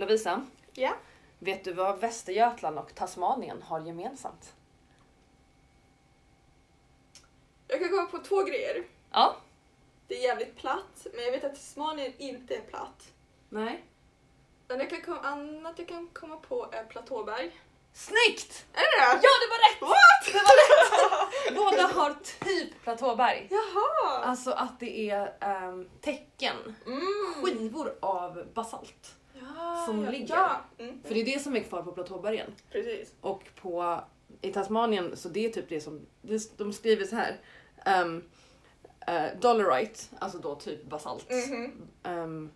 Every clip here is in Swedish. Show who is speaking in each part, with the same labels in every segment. Speaker 1: Lovisa,
Speaker 2: Ja.
Speaker 1: vet du vad Västergötland och Tasmanien har gemensamt?
Speaker 2: Jag kan komma på två grejer.
Speaker 1: Ja.
Speaker 2: Det är jävligt platt, men jag vet att Tasmanien inte är platt.
Speaker 1: Nej.
Speaker 2: Men jag kan komma, annat jag kan komma på är platåberg.
Speaker 1: Snyggt!
Speaker 2: Är det det?
Speaker 1: Ja, det var rätt!
Speaker 2: What?
Speaker 1: Det var rätt! Båda har typ platåberg.
Speaker 2: Jaha!
Speaker 1: Alltså att det är ehm, tecken,
Speaker 2: Mm.
Speaker 1: skivor av basalt.
Speaker 2: Ja,
Speaker 1: som
Speaker 2: ja,
Speaker 1: ligger.
Speaker 2: Ja. Mm.
Speaker 1: För det är det som är kvar på platåbergen.
Speaker 2: Precis.
Speaker 1: Och på, i Tasmanien, så det är typ det som, det- de skriver så här. Um, Dollarite, alltså då typ basalt.
Speaker 2: Mhm.
Speaker 1: um,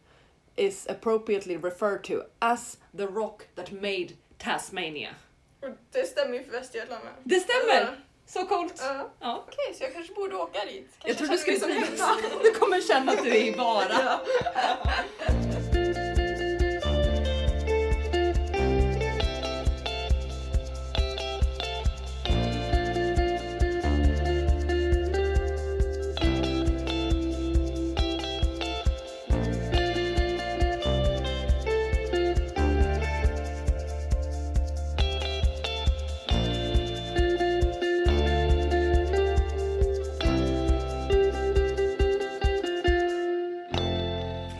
Speaker 1: is appropriately referred to as the rock that made Tasmania.
Speaker 2: Och det stämmer ju för Västergötland med.
Speaker 1: Det
Speaker 2: Ja.
Speaker 1: stämmer! Så coolt!
Speaker 2: Ja.
Speaker 1: Ja.
Speaker 2: Okej, så jag kanske borde åka dit. Kanske
Speaker 1: Jag trodde du skulle
Speaker 2: känner mig
Speaker 1: säga
Speaker 2: som
Speaker 1: Du kommer känna att du är i vara.
Speaker 2: hemma.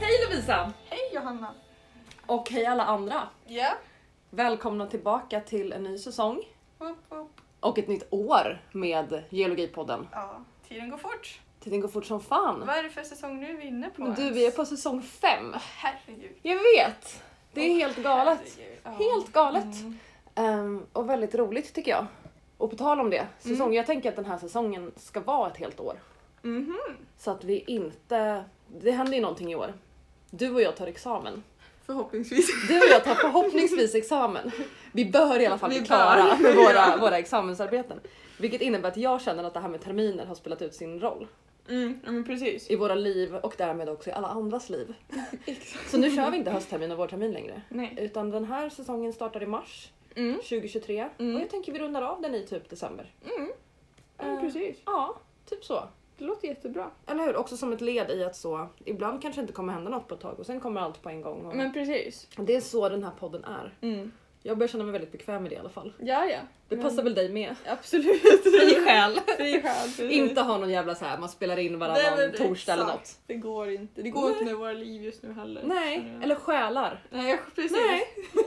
Speaker 1: Hej Lovisa!
Speaker 2: Hej Johanna!
Speaker 1: Och hej alla andra!
Speaker 2: Ja.
Speaker 1: Välkomna tillbaka till en ny säsong
Speaker 2: Upp, upp.
Speaker 1: och ett nytt år med Geologipodden.
Speaker 2: Ja, tiden går fort.
Speaker 1: Tiden går fort som fan.
Speaker 2: Vad är det för säsong nu är vi inne på?
Speaker 1: Men du,
Speaker 2: ens?
Speaker 1: vi är på säsong fem.
Speaker 2: Herregud.
Speaker 1: Jag vet! Det är helt galet.
Speaker 2: Herregud. Ja.
Speaker 1: Helt galet.
Speaker 2: Mm.
Speaker 1: Ehm, och väldigt roligt tycker jag. Och på tal om det, säsong,
Speaker 2: Mm.
Speaker 1: jag tänker att den här säsongen ska vara ett helt år.
Speaker 2: Mhm.
Speaker 1: Så att vi inte... Det händer ju någonting i år. Du och jag tar examen.
Speaker 2: Förhoppningsvis.
Speaker 1: Du och jag tar förhoppningsvis examen. Vi bör i alla fall bli
Speaker 2: Vi
Speaker 1: klara
Speaker 2: bör.
Speaker 1: med våra, våra examensarbeten. Vilket innebär att jag känner att det här med terminer har spelat ut sin roll
Speaker 2: Mm, ja, men precis.
Speaker 1: i våra liv och därmed också i alla andras liv. Så nu kör vi inte hösttermin och vårtermin längre.
Speaker 2: Nej.
Speaker 1: Utan den här säsongen startar i mars
Speaker 2: Mm.
Speaker 1: 2023
Speaker 2: Mm.
Speaker 1: och jag tänker vi rundar av den i typ december.
Speaker 2: Mm.
Speaker 1: Eh,
Speaker 2: precis.
Speaker 1: Ja, typ så.
Speaker 2: Det låter jättebra.
Speaker 1: Eller hur? Också som ett led i att så, ibland kanske inte kommer hända något på ett tag och sen kommer allt på en gång. Och
Speaker 2: Men precis.
Speaker 1: Det är så den här podden är.
Speaker 2: Mm.
Speaker 1: Jag börjar känna mig väldigt bekväm med det i alla fall.
Speaker 2: Ja, ja.
Speaker 1: Det
Speaker 2: Men-
Speaker 1: passar väl dig med?
Speaker 2: Absolut.
Speaker 1: Fri själ!
Speaker 2: Fri själ. precis.
Speaker 1: inte ha någon jävla så här man spelar in
Speaker 2: Nej,
Speaker 1: varannan
Speaker 2: men det-
Speaker 1: torsdag eller
Speaker 2: exakt.
Speaker 1: något.
Speaker 2: Det går inte. Det går
Speaker 1: Nej.
Speaker 2: inte med våra liv just nu heller.
Speaker 1: Nej,
Speaker 2: känner jag.
Speaker 1: eller själar.
Speaker 2: Nej, jag- precis.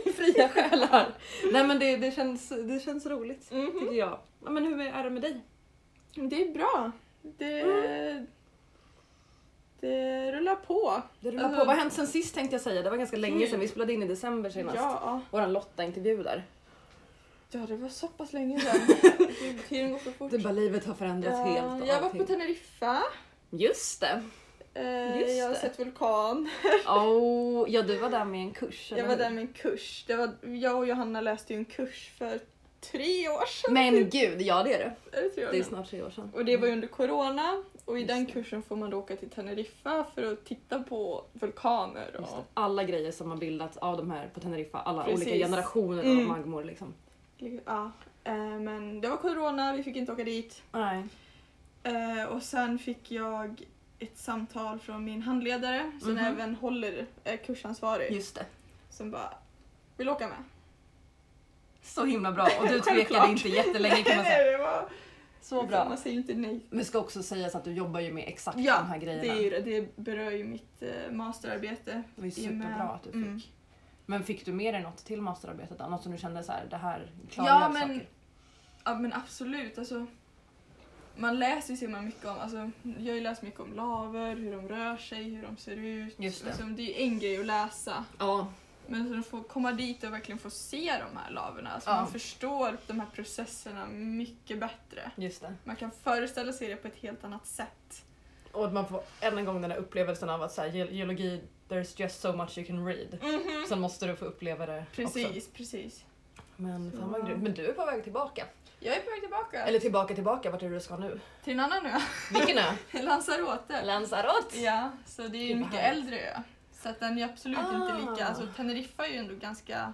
Speaker 1: Nej, fria själar. Nej men det, det, känns, det känns roligt
Speaker 2: Mhm.
Speaker 1: tycker jag. Ja, Men hur är det med dig? Mm.
Speaker 2: Det är bra. Det... Det rullar på.
Speaker 1: Det rullar på.
Speaker 2: Alltså-
Speaker 1: Vad har hänt sen sist tänkte jag säga? Det var ganska länge sedan. Vi spelade in i december senast.
Speaker 2: Ja.
Speaker 1: Våran Lotta-intervju där.
Speaker 2: ja, det var så pass länge sedan. Gud, Tiden går för fort.
Speaker 1: Det är bara livet har förändrats
Speaker 2: Ja,
Speaker 1: helt. och
Speaker 2: jag var
Speaker 1: allting.
Speaker 2: på Teneriffa.
Speaker 1: Just det.
Speaker 2: Eh,
Speaker 1: Just
Speaker 2: jag har
Speaker 1: det.
Speaker 2: sett vulkan.
Speaker 1: Oh, ja du var där med en kurs.
Speaker 2: Jag var där med en kurs. Det var, jag och Johanna läste ju en kurs för tre år sedan.
Speaker 1: Men gud, ja det är det.
Speaker 2: Är det tre år
Speaker 1: Det är
Speaker 2: sedan?
Speaker 1: snart tre år sedan.
Speaker 2: Och det var ju under corona och i
Speaker 1: Just
Speaker 2: den
Speaker 1: det.
Speaker 2: kursen får man då åka till Teneriffa för att titta på vulkaner.
Speaker 1: Mm. Just det.
Speaker 2: Och,
Speaker 1: Alla grejer som har bildats av de här på Teneriffa, alla
Speaker 2: Precis.
Speaker 1: olika generationer av
Speaker 2: Mm.
Speaker 1: magmor liksom.
Speaker 2: ja. Eh, Men det var corona, vi fick inte åka dit.
Speaker 1: Nej.
Speaker 2: Eh, Och sen fick jag ett samtal från min handledare som
Speaker 1: Mhm.
Speaker 2: även håller är kursansvarig
Speaker 1: Just det.
Speaker 2: som bara vill åka med.
Speaker 1: Så himla bra och du tvekade
Speaker 2: Självklart.
Speaker 1: inte jättelänge kan man säga.
Speaker 2: Nej, det var, liksom,
Speaker 1: Så bra.
Speaker 2: Man säger ju inte nej.
Speaker 1: Men det ska också sägas att du jobbar ju med exakt
Speaker 2: Ja,
Speaker 1: de här
Speaker 2: Det,
Speaker 1: grejerna.
Speaker 2: är ju, det. det berör ju mitt eh, masterarbete.
Speaker 1: Det var ju
Speaker 2: i och med-
Speaker 1: superbra att du fick.
Speaker 2: Mm.
Speaker 1: Men fick du med dig något till masterarbetet? då? Något som du kände så här, det här klargör
Speaker 2: Ja men,
Speaker 1: saker?
Speaker 2: ja men absolut. Alltså, man läser ju så himla mycket om, alltså, jag har ju läst mycket om laver, hur de rör sig, hur de ser ut.
Speaker 1: Just det.
Speaker 2: Alltså, det är ju en grej att läsa.
Speaker 1: Ja,
Speaker 2: Men så att få komma dit och verkligen få se de här laverna. Alltså,
Speaker 1: Ja.
Speaker 2: Man förstår de här processerna mycket bättre.
Speaker 1: just det.
Speaker 2: Man kan föreställa sig det på ett helt annat sätt.
Speaker 1: Och att man får än en gång den här upplevelsen av att så här, ge- geologi, there's just so much you can read. Sen måste du få uppleva det Mhm. också.
Speaker 2: Mm. Precis, precis.
Speaker 1: Men, fan vad
Speaker 2: Så.
Speaker 1: grymt. men du är på väg tillbaka.
Speaker 2: Jag är på väg tillbaka.
Speaker 1: Eller tillbaka tillbaka, vart är det du ska nu?
Speaker 2: Till en annan ö,
Speaker 1: Vilken ö?
Speaker 2: Lanzarote.
Speaker 1: Lanzarote!
Speaker 2: Ja, så det är ju
Speaker 1: Gud,
Speaker 2: en
Speaker 1: vad
Speaker 2: mycket
Speaker 1: härligt.
Speaker 2: äldre ö. Så att den är absolut
Speaker 1: Ah.
Speaker 2: inte lika. Alltså Teneriffa är ju ändå ganska...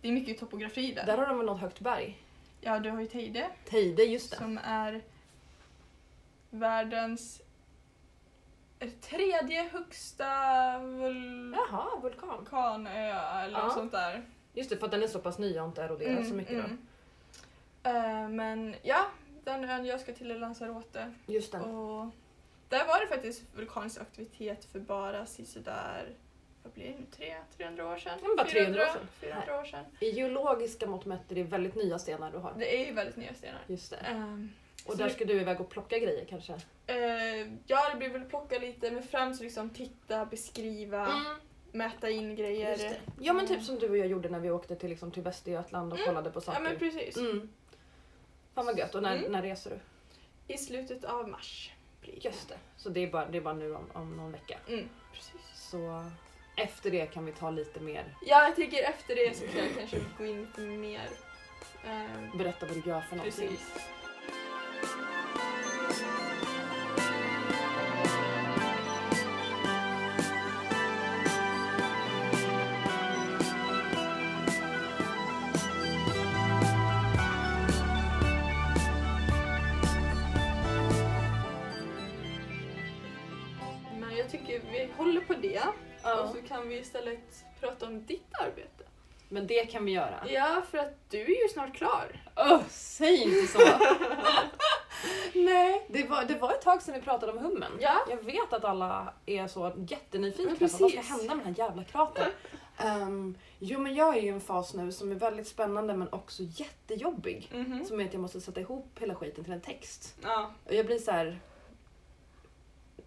Speaker 2: Det är mycket topografi där.
Speaker 1: Där har de väl något högt berg?
Speaker 2: Ja, du har ju Teide
Speaker 1: Teide, just det.
Speaker 2: som är världens är det tredje högsta vulkanö
Speaker 1: Jaha, vulkan.
Speaker 2: eller något
Speaker 1: Ja.
Speaker 2: sånt där.
Speaker 1: Just det, för att den är så pass ny och har inte eroderat
Speaker 2: Mm,
Speaker 1: så mycket då.
Speaker 2: Eh, men ja, den ön jag ska till är Lanzarote.
Speaker 1: Just den.
Speaker 2: Och där var det faktiskt vulkanisk aktivitet för bara sådär, vad blir det nu, tre- 300 år sedan?
Speaker 1: Ja, men bara 300 år sedan.
Speaker 2: 400 år sedan.
Speaker 1: I geologiska mått mätt är det väldigt nya stenar du har.
Speaker 2: Det är ju väldigt nya stenar.
Speaker 1: Just det.
Speaker 2: Ehm,
Speaker 1: Och
Speaker 2: så
Speaker 1: där
Speaker 2: det-
Speaker 1: ska du iväg och plocka grejer kanske?
Speaker 2: eh, ja, det blir väl plocka lite, men främst liksom titta, beskriva, mäta in
Speaker 1: Mm. Just
Speaker 2: grejer.
Speaker 1: det. Ja men typ som du och jag gjorde när vi åkte till, liksom, till Västergötland och kollade på
Speaker 2: Mm. Ja,
Speaker 1: saker.
Speaker 2: men precis.
Speaker 1: mm. Fan vad gött. Och när,
Speaker 2: Mm.
Speaker 1: när reser du?
Speaker 2: I slutet av mars blir det.
Speaker 1: Just det. Så det är bara, det är bara nu om, om någon vecka.
Speaker 2: Mm, precis.
Speaker 1: Så efter det kan vi ta lite mer,
Speaker 2: Ja, jag tänker efter det så kan jag kanske gå in lite mer. Ehm,
Speaker 1: berätta vad du gör för någonting.
Speaker 2: precis. Men jag tycker vi håller på det. Och
Speaker 1: Ja.
Speaker 2: så kan vi istället prata om ditt arbete.
Speaker 1: Men det kan vi göra.
Speaker 2: Ja, för att du är ju snart klar.
Speaker 1: Åh, säg inte så! Nej, det var, det var ett tag sedan vi pratade om hummen.
Speaker 2: Ja.
Speaker 1: Jag vet att alla är så jättenyfikna
Speaker 2: Men
Speaker 1: på vad som ska
Speaker 2: precis.
Speaker 1: hända med den här jävla kratern. Ehm, jo men jag är i en fas nu som är väldigt spännande men också jättejobbig.
Speaker 2: Mhm.
Speaker 1: Som är att jag måste sätta ihop hela skiten till en text.
Speaker 2: Ja.
Speaker 1: Och jag blir så här.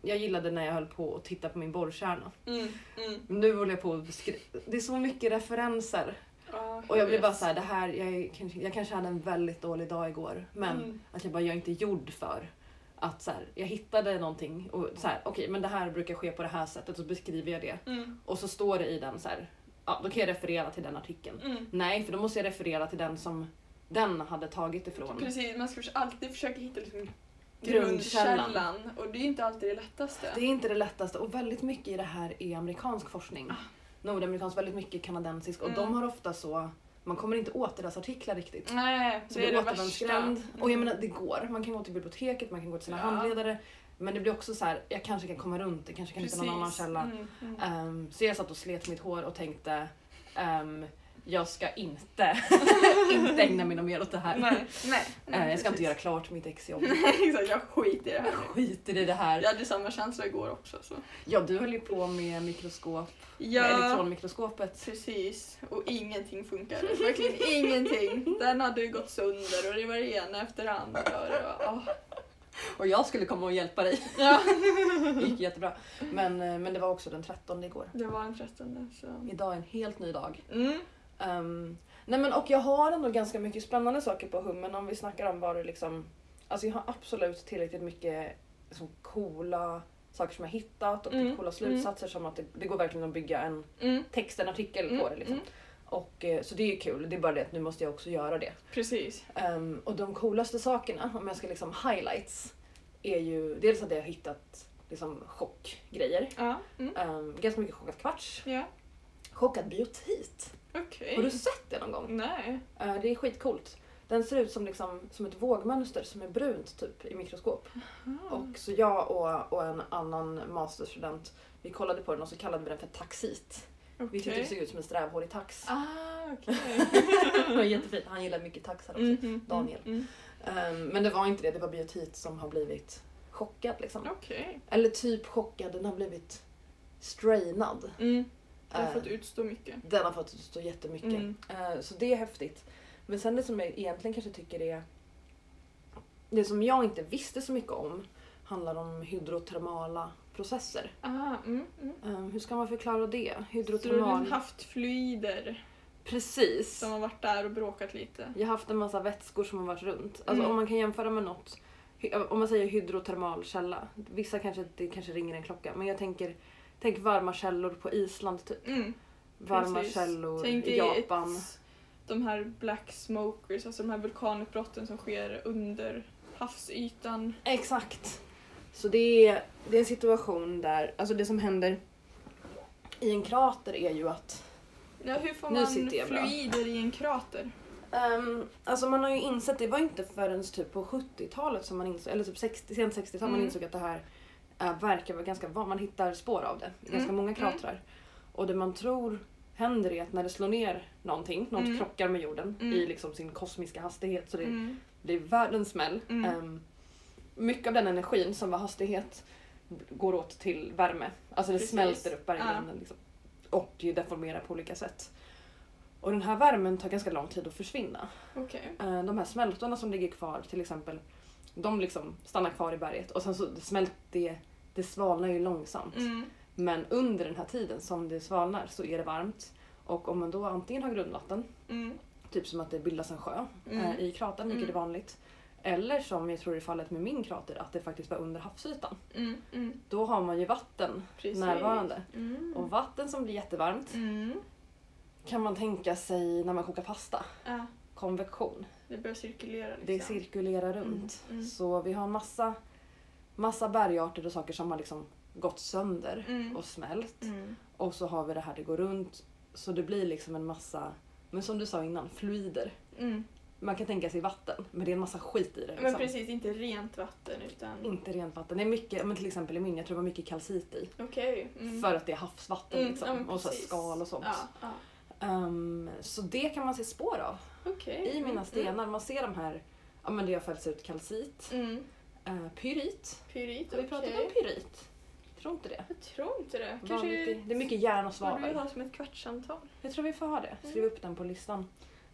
Speaker 1: Jag gillade när jag höll på att titta på min borrkärna.
Speaker 2: Mm. Mm.
Speaker 1: Nu håller jag på att beskriva. Det är så mycket referenser. Och jag blir bara så här, det här, jag, är kanske, jag kanske hade en väldigt dålig dag igår men
Speaker 2: Mm.
Speaker 1: att jag bara, jag är inte gjord för att så här, jag hittade någonting och så här, okej men det här brukar ske på det här sättet och så beskriver jag det
Speaker 2: Mm.
Speaker 1: och så står det i den så här, ja då kan jag referera till den artikeln.
Speaker 2: Mm.
Speaker 1: Nej för då måste jag referera till den som den hade tagit ifrån.
Speaker 2: Precis, man ska förs- alltid försöka hitta liksom
Speaker 1: Grundkällan.
Speaker 2: grundkällan. Och det är ju inte alltid det lättaste.
Speaker 1: Det är inte det lättaste och väldigt mycket i det här är amerikansk forskning. Nordamerikansk, väldigt mycket kanadensisk och
Speaker 2: Ah. Mm.
Speaker 1: de har ofta så, man kommer inte åt deras artiklar riktigt.
Speaker 2: Nej,
Speaker 1: Så
Speaker 2: det är det värsta.
Speaker 1: återvändsgränd. Alltså, Och jag menar det går. Man kan gå till biblioteket, man kan gå till sina
Speaker 2: Ja.
Speaker 1: handledare. Men det blir också så här, jag kanske kan komma runt, jag kanske kan hitta någon annan källa.
Speaker 2: Mm. Mm.
Speaker 1: Ehm, så jag satt och slet mitt hår och tänkte ehm, jag ska inte, inte ägna mig något mer åt det här.
Speaker 2: Nej, nej.
Speaker 1: Ehm, jag ska inte
Speaker 2: precis.
Speaker 1: göra klart mitt exjobb.
Speaker 2: Nej, exakt. Jag skiter i det
Speaker 1: Jag
Speaker 2: här.
Speaker 1: skiter i det här.
Speaker 2: Jag hade samma känsla igår också. Så.
Speaker 1: Ja, du höll ju på med mikroskop, med
Speaker 2: Ja,
Speaker 1: elektronmikroskopet.
Speaker 2: precis. Och ingenting funkade. Verkligen ingenting. Den hade ju gått sönder och det var det ena efter det andra. Och det var, åh.
Speaker 1: Och jag skulle komma och hjälpa dig.
Speaker 2: Ja.
Speaker 1: Det gick jättebra. Men, eh, men det var också den 13 igår.
Speaker 2: Det var den 13. Så.
Speaker 1: Idag är en helt ny dag.
Speaker 2: Mm.
Speaker 1: Ehm, nej men och jag har ändå ganska mycket spännande saker på hummen om vi snackar om vad det liksom... Alltså jag har absolut tillräckligt mycket liksom, coola saker som jag hittat och
Speaker 2: Mm,
Speaker 1: coola slutsatser som att det, det går verkligen att bygga en
Speaker 2: Mm.
Speaker 1: text, en artikel på det. Liksom.
Speaker 2: mm.
Speaker 1: Och, eh, så det är ju kul, det är bara det att nu måste jag också göra det.
Speaker 2: Precis.
Speaker 1: Ehm, och de coolaste sakerna, om jag ska liksom highlights, är ju dels att jag har hittat liksom, chockgrejer.
Speaker 2: Ja. Mm.
Speaker 1: Ehm, ganska mycket chockat kvarts.
Speaker 2: Ja.
Speaker 1: Chockat biotit.
Speaker 2: Okej.
Speaker 1: Har du sett det någon gång?
Speaker 2: Nej.
Speaker 1: Eh, Det är skitcoolt. Den ser ut som, liksom, som ett vågmönster som är brunt typ i mikroskop.
Speaker 2: Mm.
Speaker 1: Och så jag och, och en annan masterstudent vi kollade på den och så kallade vi den för taxit. Vi tyckte
Speaker 2: Ah, Okej.
Speaker 1: det såg ut som en strävhårig tax.
Speaker 2: Ah, okej.
Speaker 1: Det var jättefint. Han gillar mycket taxar också.
Speaker 2: Mhm,
Speaker 1: Daniel.
Speaker 2: Mm.
Speaker 1: Eh, men det var inte det, det var biotit som har blivit chockad liksom.
Speaker 2: Okej.
Speaker 1: Eller typ chockad, den har blivit strainad.
Speaker 2: Mm. Jag har
Speaker 1: Eh,
Speaker 2: fått utstå mycket.
Speaker 1: Den har fått stå jättemycket.
Speaker 2: Mm.
Speaker 1: Eh, Så det är häftigt. Men sen det som jag egentligen kanske tycker är... Det som jag inte visste så mycket om handlar om hydrotermala processer.
Speaker 2: Ah, mm, mm.
Speaker 1: Eh, Hur ska man förklara det?
Speaker 2: Så du har
Speaker 1: Hydrotermal...
Speaker 2: liksom haft fluider
Speaker 1: Precis.
Speaker 2: som har varit där och bråkat lite.
Speaker 1: Jag har haft en massa vätskor som har varit runt. Alltså
Speaker 2: Mm.
Speaker 1: om man kan jämföra med något. hy- Om man säger hydrotermal källa. Vissa kanske, det kanske ringer en klocka. Men jag tänker, tänk varma källor på Island typ.
Speaker 2: Mm,
Speaker 1: Varma
Speaker 2: precis.
Speaker 1: källor
Speaker 2: Tänk
Speaker 1: i Japan.
Speaker 2: Ett, de här black smokers, alltså de här vulkanutbrotten som sker under havsytan.
Speaker 1: Exakt. Så det är, det är en situation där, alltså det som händer i en krater är ju att
Speaker 2: Ja, hur får
Speaker 1: Nu
Speaker 2: man
Speaker 1: sitter jag bra.
Speaker 2: fluider i en krater?
Speaker 1: ehm, alltså man har ju insett, det var inte förrän typ på 70-talet som man insåg, eller typ 60, sent 60-tal man
Speaker 2: Mm.
Speaker 1: insåg att det här är, verkar vara ganska van. Man hittar spår av det i ganska
Speaker 2: Mm,
Speaker 1: många
Speaker 2: mm.
Speaker 1: kratrar. Och det man tror händer är att när det slår ner någonting, något
Speaker 2: Mm.
Speaker 1: krockar med jorden
Speaker 2: Mm.
Speaker 1: i liksom sin kosmiska hastighet så det
Speaker 2: Mm.
Speaker 1: blir världens smäll.
Speaker 2: Mm.
Speaker 1: Ehm, mycket av den energin som var hastighet går åt till värme. Alltså det
Speaker 2: Precis.
Speaker 1: smälter upp berggrunden. Liksom. Och det deformerar på olika sätt. Och den här värmen tar ganska lång tid att försvinna.
Speaker 2: Okej.
Speaker 1: Eh, De här smältorna som ligger kvar till exempel, de liksom stannar kvar i berget och sen så det smält det, det svalnar ju långsamt.
Speaker 2: Mm.
Speaker 1: Men under den här tiden som det svalnar så är det varmt och om man då antingen har grundvatten,
Speaker 2: Mm.
Speaker 1: typ som att det bildas en sjö
Speaker 2: Mm.
Speaker 1: eh, i kratern, vilket
Speaker 2: Mm.
Speaker 1: är vanligt, eller som jag tror är fallet med min krater, att det faktiskt var under havsytan.
Speaker 2: Mm. Mm.
Speaker 1: Då har man ju vatten
Speaker 2: Precis.
Speaker 1: närvarande.
Speaker 2: Mm.
Speaker 1: Och vatten som blir jättevarmt
Speaker 2: Mm.
Speaker 1: kan man tänka sig när man kokar pasta,
Speaker 2: Ja,
Speaker 1: konvektion.
Speaker 2: det börjar cirkulera liksom.
Speaker 1: Det cirkulerar runt.
Speaker 2: Mm, mm.
Speaker 1: Så vi har massa, massa bergarter och saker som har liksom gått sönder
Speaker 2: Mm.
Speaker 1: och smält.
Speaker 2: Mm.
Speaker 1: Och så har vi det här det går runt. Så det blir liksom en massa, men som du sa innan, fluider.
Speaker 2: Mm.
Speaker 1: Man kan tänka sig vatten, men det är en massa skit i det.
Speaker 2: Men
Speaker 1: Liksom.
Speaker 2: precis, inte rent vatten utan...
Speaker 1: Inte rent vatten. Det är mycket, men till exempel i min, jag tror det var mycket kalcit i.
Speaker 2: Okej. Mm.
Speaker 1: För att det är havsvatten
Speaker 2: Mm,
Speaker 1: liksom.
Speaker 2: ja, men
Speaker 1: och så här
Speaker 2: precis.
Speaker 1: skal och sånt.
Speaker 2: Ja, ja.
Speaker 1: Ehm, så det kan man se spår av
Speaker 2: Okej.
Speaker 1: i mina
Speaker 2: Mm,
Speaker 1: stenar. Man ser de här, ja men det har fällts ut kalcit,
Speaker 2: Mm. Mm.
Speaker 1: eh, pyrit.
Speaker 2: Pyrit,
Speaker 1: Har vi
Speaker 2: okej.
Speaker 1: pratat om pyrit? Jag tror inte det.
Speaker 2: Jag tror inte det.
Speaker 1: Vanligt-
Speaker 2: Kanske
Speaker 1: Det är mycket järn och
Speaker 2: borde vi
Speaker 1: svavel.
Speaker 2: ha som ett kvartsamtal.
Speaker 1: Jag tror vi får ha det. Skriv upp den på listan.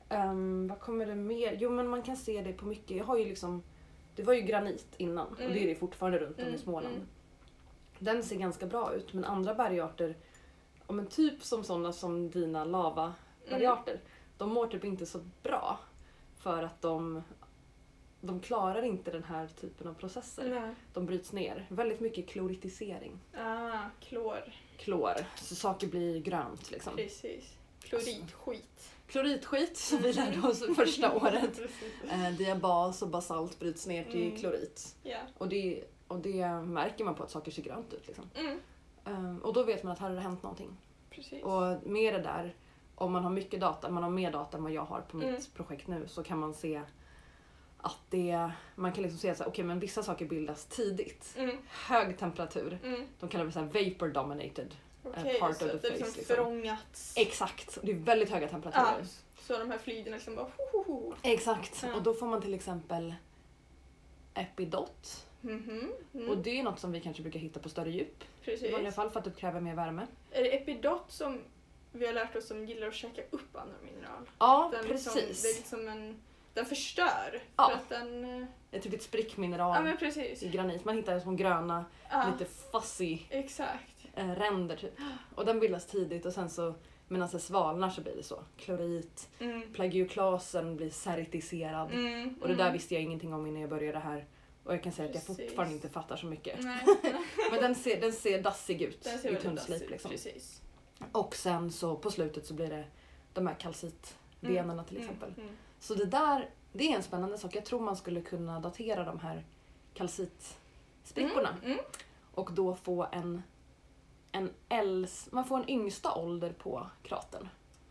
Speaker 1: Ehm, vad kommer det mer? Jo men man kan se det på mycket. Jag har ju liksom, det var ju granit innan och det är det fortfarande runt om i
Speaker 2: Mm,
Speaker 1: Småland.
Speaker 2: mm.
Speaker 1: Den ser ganska bra ut men andra bergarter, ja, men typ som sådana som dina
Speaker 2: Mm.
Speaker 1: lavabergarter, de mår typ inte så bra. För att de, de klarar inte den här typen av processer.
Speaker 2: Eller?
Speaker 1: De bryts ner. Väldigt mycket kloritisering.
Speaker 2: Ah, klor.
Speaker 1: klor så saker blir grönt. Liksom.
Speaker 2: Precis. Kloritskit.
Speaker 1: Kloritskit som vi lärde oss första året.
Speaker 2: Mm. Precis.
Speaker 1: Eh, diabas och basalt bryts ner till
Speaker 2: Mm.
Speaker 1: klorit.
Speaker 2: Ja.
Speaker 1: Och det, och det märker man på att saker ser grönt ut. Liksom.
Speaker 2: Mm.
Speaker 1: Eh, och då vet man att här har det hänt någonting.
Speaker 2: Precis.
Speaker 1: Och med det där, om man har mycket data, man har mer data än vad jag har på mitt
Speaker 2: Mm.
Speaker 1: projekt nu, så kan man se att det, man kan liksom se att så här, okej, men vissa saker bildas tidigt.
Speaker 2: Mm.
Speaker 1: Hög temperatur.
Speaker 2: Mm.
Speaker 1: De kallar det så här vapor dominated.
Speaker 2: Okej,
Speaker 1: part
Speaker 2: så
Speaker 1: of
Speaker 2: att
Speaker 1: the
Speaker 2: det liksom
Speaker 1: face, liksom.
Speaker 2: förångats.
Speaker 1: Exakt, det är väldigt höga temperaturer.
Speaker 2: Ja. Så de här flyderna liksom bara... Ho, ho, ho.
Speaker 1: Exakt,
Speaker 2: Ja.
Speaker 1: och då får man till exempel epidot.
Speaker 2: Mhm. Mm.
Speaker 1: Och det är något som vi kanske brukar hitta på större djup. I vanliga
Speaker 2: Precis.
Speaker 1: fall för att det kräver mer värme.
Speaker 2: Är det epidot som vi har lärt oss som gillar att käka upp andra mineral?
Speaker 1: Ja,
Speaker 2: Den, liksom, det är
Speaker 1: precis.
Speaker 2: liksom en, den förstör.
Speaker 1: Ja.
Speaker 2: För att den... eh,
Speaker 1: Det är typ ett
Speaker 2: Ja,
Speaker 1: sprickmineral
Speaker 2: men precis.
Speaker 1: i granit. Man hittar små gröna,
Speaker 2: Ja,
Speaker 1: lite fuzzy
Speaker 2: Exakt.
Speaker 1: eh, ränder typ. Och den bildas tidigt och sen så medan det svalnar så blir det så. Klorit,
Speaker 2: Mm.
Speaker 1: plagioklasen blir seritiserad.
Speaker 2: Mm.
Speaker 1: Och det där
Speaker 2: mm.
Speaker 1: visste jag ingenting om innan jag började här. Och jag kan säga att jag
Speaker 2: Precis.
Speaker 1: fortfarande inte fattar så mycket.
Speaker 2: Nej,
Speaker 1: Men den ser, den ser dassig ut
Speaker 2: den ser
Speaker 1: i
Speaker 2: väldigt
Speaker 1: tunnslip.
Speaker 2: dassig ut.
Speaker 1: Liksom.
Speaker 2: Precis.
Speaker 1: Och sen så på slutet så blir det de här kalcitvenerna till exempel.
Speaker 2: Mm. Mm.
Speaker 1: Så det där, det är en spännande sak. Jag tror man skulle kunna datera de här kalcitsprickorna
Speaker 2: Mm. Mm.
Speaker 1: och då få en, en äls, man får en yngsta ålder på kratern.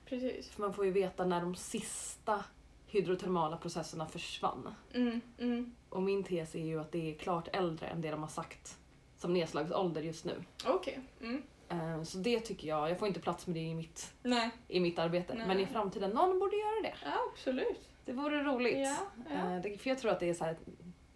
Speaker 2: Precis.
Speaker 1: För man får ju veta när de sista hydrotermala processerna försvann.
Speaker 2: Mm. Mm.
Speaker 1: Och min tes är ju att det är klart äldre än det de har sagt som nedslagsålder just nu.
Speaker 2: Okej. Mm.
Speaker 1: Eh, Så det tycker jag, jag får inte plats med det i mitt
Speaker 2: Nej,
Speaker 1: i mitt arbete.
Speaker 2: Nej.
Speaker 1: Men i framtiden, någon borde göra det.
Speaker 2: ja, absolut.
Speaker 1: Det vore roligt.
Speaker 2: Ja, ja.
Speaker 1: Eh, det, för jag tror att det är så här,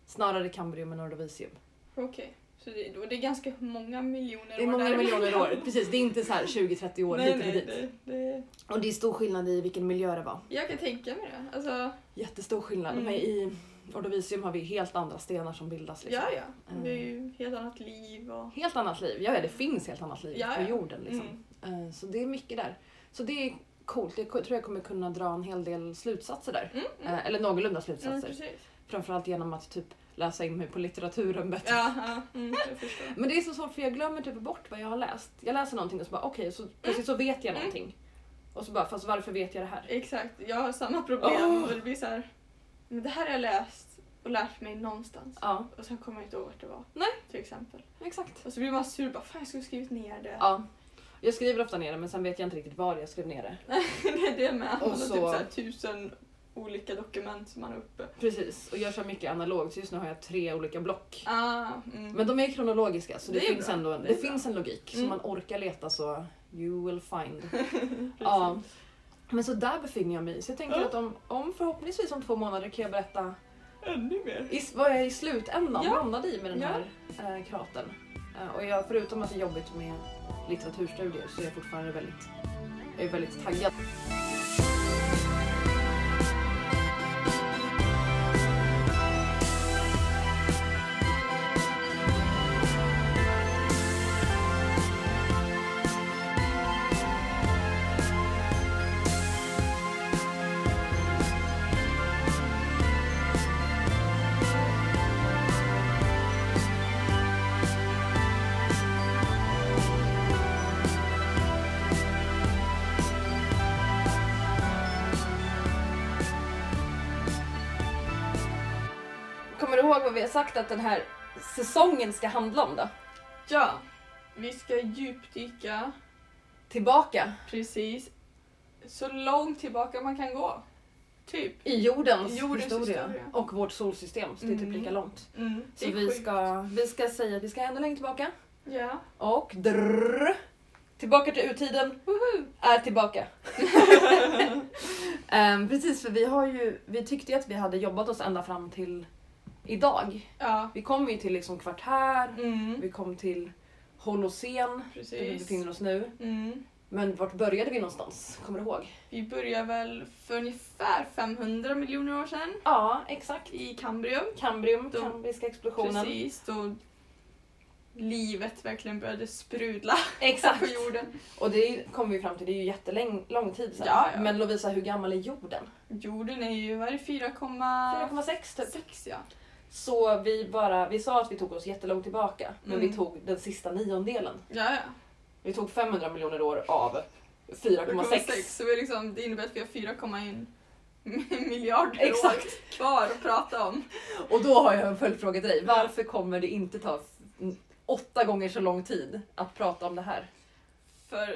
Speaker 1: snarare kambrium än ordovisium.
Speaker 2: Okej. Så det, och det är ganska många miljoner
Speaker 1: Det är många
Speaker 2: däremellan.
Speaker 1: miljoner år. Precis, det är inte så här 20-30 år
Speaker 2: Nej,
Speaker 1: hit och
Speaker 2: nej,
Speaker 1: dit.
Speaker 2: det, det,
Speaker 1: Och det är stor skillnad i vilken miljö det var.
Speaker 2: jag kan tänka mig det. Alltså,
Speaker 1: Jättestor skillnad.
Speaker 2: Mm.
Speaker 1: Men i ordovisium har vi helt andra stenar som bildas. Liksom.
Speaker 2: ja, ja. Det är ju helt annat liv och... Mm.
Speaker 1: Helt annat liv. Ja, ja, det finns helt annat liv
Speaker 2: Ja,
Speaker 1: på
Speaker 2: ja.
Speaker 1: jorden. Liksom. Eh, så det är mycket där. Så det är coolt. Jag tror jag kommer kunna dra en hel del slutsatser där.
Speaker 2: Mm, mm.
Speaker 1: Eh, eller någorlunda
Speaker 2: Mm,
Speaker 1: slutsatser.
Speaker 2: precis.
Speaker 1: Framförallt genom att typ läsa in mig på litteraturen bättre.
Speaker 2: Ja, ja. Mm, jag förstår.
Speaker 1: Men det är så svårt för jag glömmer typ bort vad jag har läst. Jag läser någonting och så bara okej, så precis
Speaker 2: Mm.
Speaker 1: så vet jag någonting. Och så bara fast varför vet jag det här?
Speaker 2: Exakt, jag har samma problem.
Speaker 1: Åh.
Speaker 2: Och det blir så här, men det här har jag läst och lärt mig någonstans.
Speaker 1: Ja,
Speaker 2: Och sen kommer jag inte ihåg vart det var.
Speaker 1: Nej.
Speaker 2: Till exempel.
Speaker 1: exakt.
Speaker 2: Och så blir man sur bara, fan jag skulle skrivit ner det.
Speaker 1: Ja. Jag skriver ofta ner det men sen vet jag inte riktigt var jag skrev ner det.
Speaker 2: det är det med.
Speaker 1: Och
Speaker 2: Och så...
Speaker 1: så-
Speaker 2: typ så här, tusen olika dokument som man har uppe.
Speaker 1: Precis, och jag kör mycket analogt så just nu har jag tre olika block.
Speaker 2: Ah, mm.
Speaker 1: Men de är kronologiska så det,
Speaker 2: Det är
Speaker 1: finns
Speaker 2: bra.
Speaker 1: ändå en,
Speaker 2: Det
Speaker 1: det
Speaker 2: är bra.
Speaker 1: finns en logik. Så
Speaker 2: Mm.
Speaker 1: man orkar leta så you will find.
Speaker 2: Precis.
Speaker 1: ja. Men så där befinner jag mig. Så jag tänker
Speaker 2: Ja.
Speaker 1: att om, om förhoppningsvis om två månader kan jag berätta
Speaker 2: Ännu mer.
Speaker 1: i, vad jag i slutändan
Speaker 2: Ja.
Speaker 1: landade i med den
Speaker 2: Ja.
Speaker 1: här eh, kratern. Eh, och jag, förutom att det är jobbigt med litteraturstudier så är jag fortfarande väldigt, jag är väldigt taggad. Kommer du ihåg vad vi har sagt att den här säsongen ska handla om då?
Speaker 2: Ja, vi ska djupdyka
Speaker 1: Tillbaka
Speaker 2: precis så långt tillbaka man kan gå. Typ.
Speaker 1: i jordens,
Speaker 2: Jordens
Speaker 1: historia.
Speaker 2: historia.
Speaker 1: och vårt solsystem. Så det är typ
Speaker 2: Mm.
Speaker 1: lika långt.
Speaker 2: Mm,
Speaker 1: Så vi ska, vi ska säga att vi ska ännu längre tillbaka.
Speaker 2: Ja.
Speaker 1: Och drrrr, tillbaka till urtiden är tillbaka. Ehm, precis, för vi, har ju, vi tyckte ju att vi hade jobbat oss ända fram till idag.
Speaker 2: ja.
Speaker 1: Vi kom ju till liksom kvart här,
Speaker 2: Mm,
Speaker 1: vi kom till Holocen, där vi
Speaker 2: precis.
Speaker 1: befinner oss nu.
Speaker 2: Mm.
Speaker 1: Men vart började vi någonstans? Kommer du ihåg?
Speaker 2: Vi börjar väl för ungefär 500 miljoner år sedan
Speaker 1: Ja, exakt.
Speaker 2: i Kambrium.
Speaker 1: Kambrium,
Speaker 2: Då-
Speaker 1: kambriska explosionen.
Speaker 2: Precis, då livet verkligen började sprudla på
Speaker 1: Exakt.
Speaker 2: jorden.
Speaker 1: Och det kom vi fram till, det är ju jättelång lång tid sedan.
Speaker 2: Ja, ja.
Speaker 1: Men Lovisa, hur gammal är jorden?
Speaker 2: Jorden är ju, vad är det, 4,6
Speaker 1: 4,6 typ.
Speaker 2: ja.
Speaker 1: Så vi, bara, vi sa att vi tog oss jättelångt tillbaka, men
Speaker 2: Mm.
Speaker 1: vi tog den sista niondelen.
Speaker 2: Ja, ja.
Speaker 1: Vi tog 500 miljoner år av 4,6.
Speaker 2: Så vi liksom, det innebär att vi har 4,1 miljarder år
Speaker 1: Exakt!
Speaker 2: kvar att prata om.
Speaker 1: Och då har jag en följdfråga till dig. Varför kommer det inte ta f- åtta gånger så lång tid att prata om det här?
Speaker 2: För,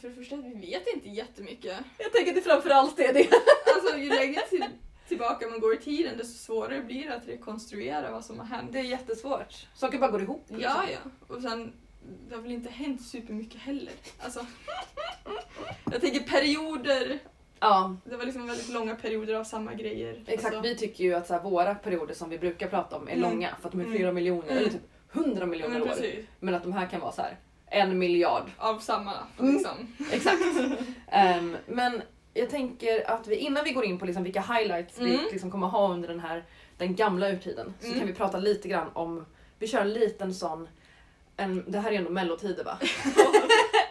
Speaker 2: för det första, vi vet inte jättemycket.
Speaker 1: Jag tänker att det framförallt är det.
Speaker 2: Alltså ju längre till, tillbaka man går i tiden desto svårare blir det att rekonstruera vad som har hänt.
Speaker 1: Det är jättesvårt. Saker bara går ihop. liksom.
Speaker 2: Ja, ja. Och sen, det har väl inte hänt supermycket heller. Alltså, jag tänker perioder,
Speaker 1: ja.
Speaker 2: det var liksom väldigt långa perioder av samma grejer.
Speaker 1: Exakt,
Speaker 2: Alltså,
Speaker 1: vi tycker ju att så här, våra perioder som vi brukar prata om är
Speaker 2: Mm.
Speaker 1: långa för att de är
Speaker 2: Mm.
Speaker 1: flera miljoner
Speaker 2: Mm.
Speaker 1: eller typ 100
Speaker 2: ja,
Speaker 1: miljoner
Speaker 2: men
Speaker 1: år.
Speaker 2: precis.
Speaker 1: Men att de här kan vara så här en miljard.
Speaker 2: Av samma,
Speaker 1: Mm.
Speaker 2: liksom.
Speaker 1: Exakt. Ehm, men jag tänker att vi innan vi går in på liksom vilka highlights
Speaker 2: Mm.
Speaker 1: vi liksom kommer ha under den här den gamla urtiden så
Speaker 2: Mm.
Speaker 1: kan vi prata lite grann om, vi kör en liten sån, en, det här är ändå mellotider va?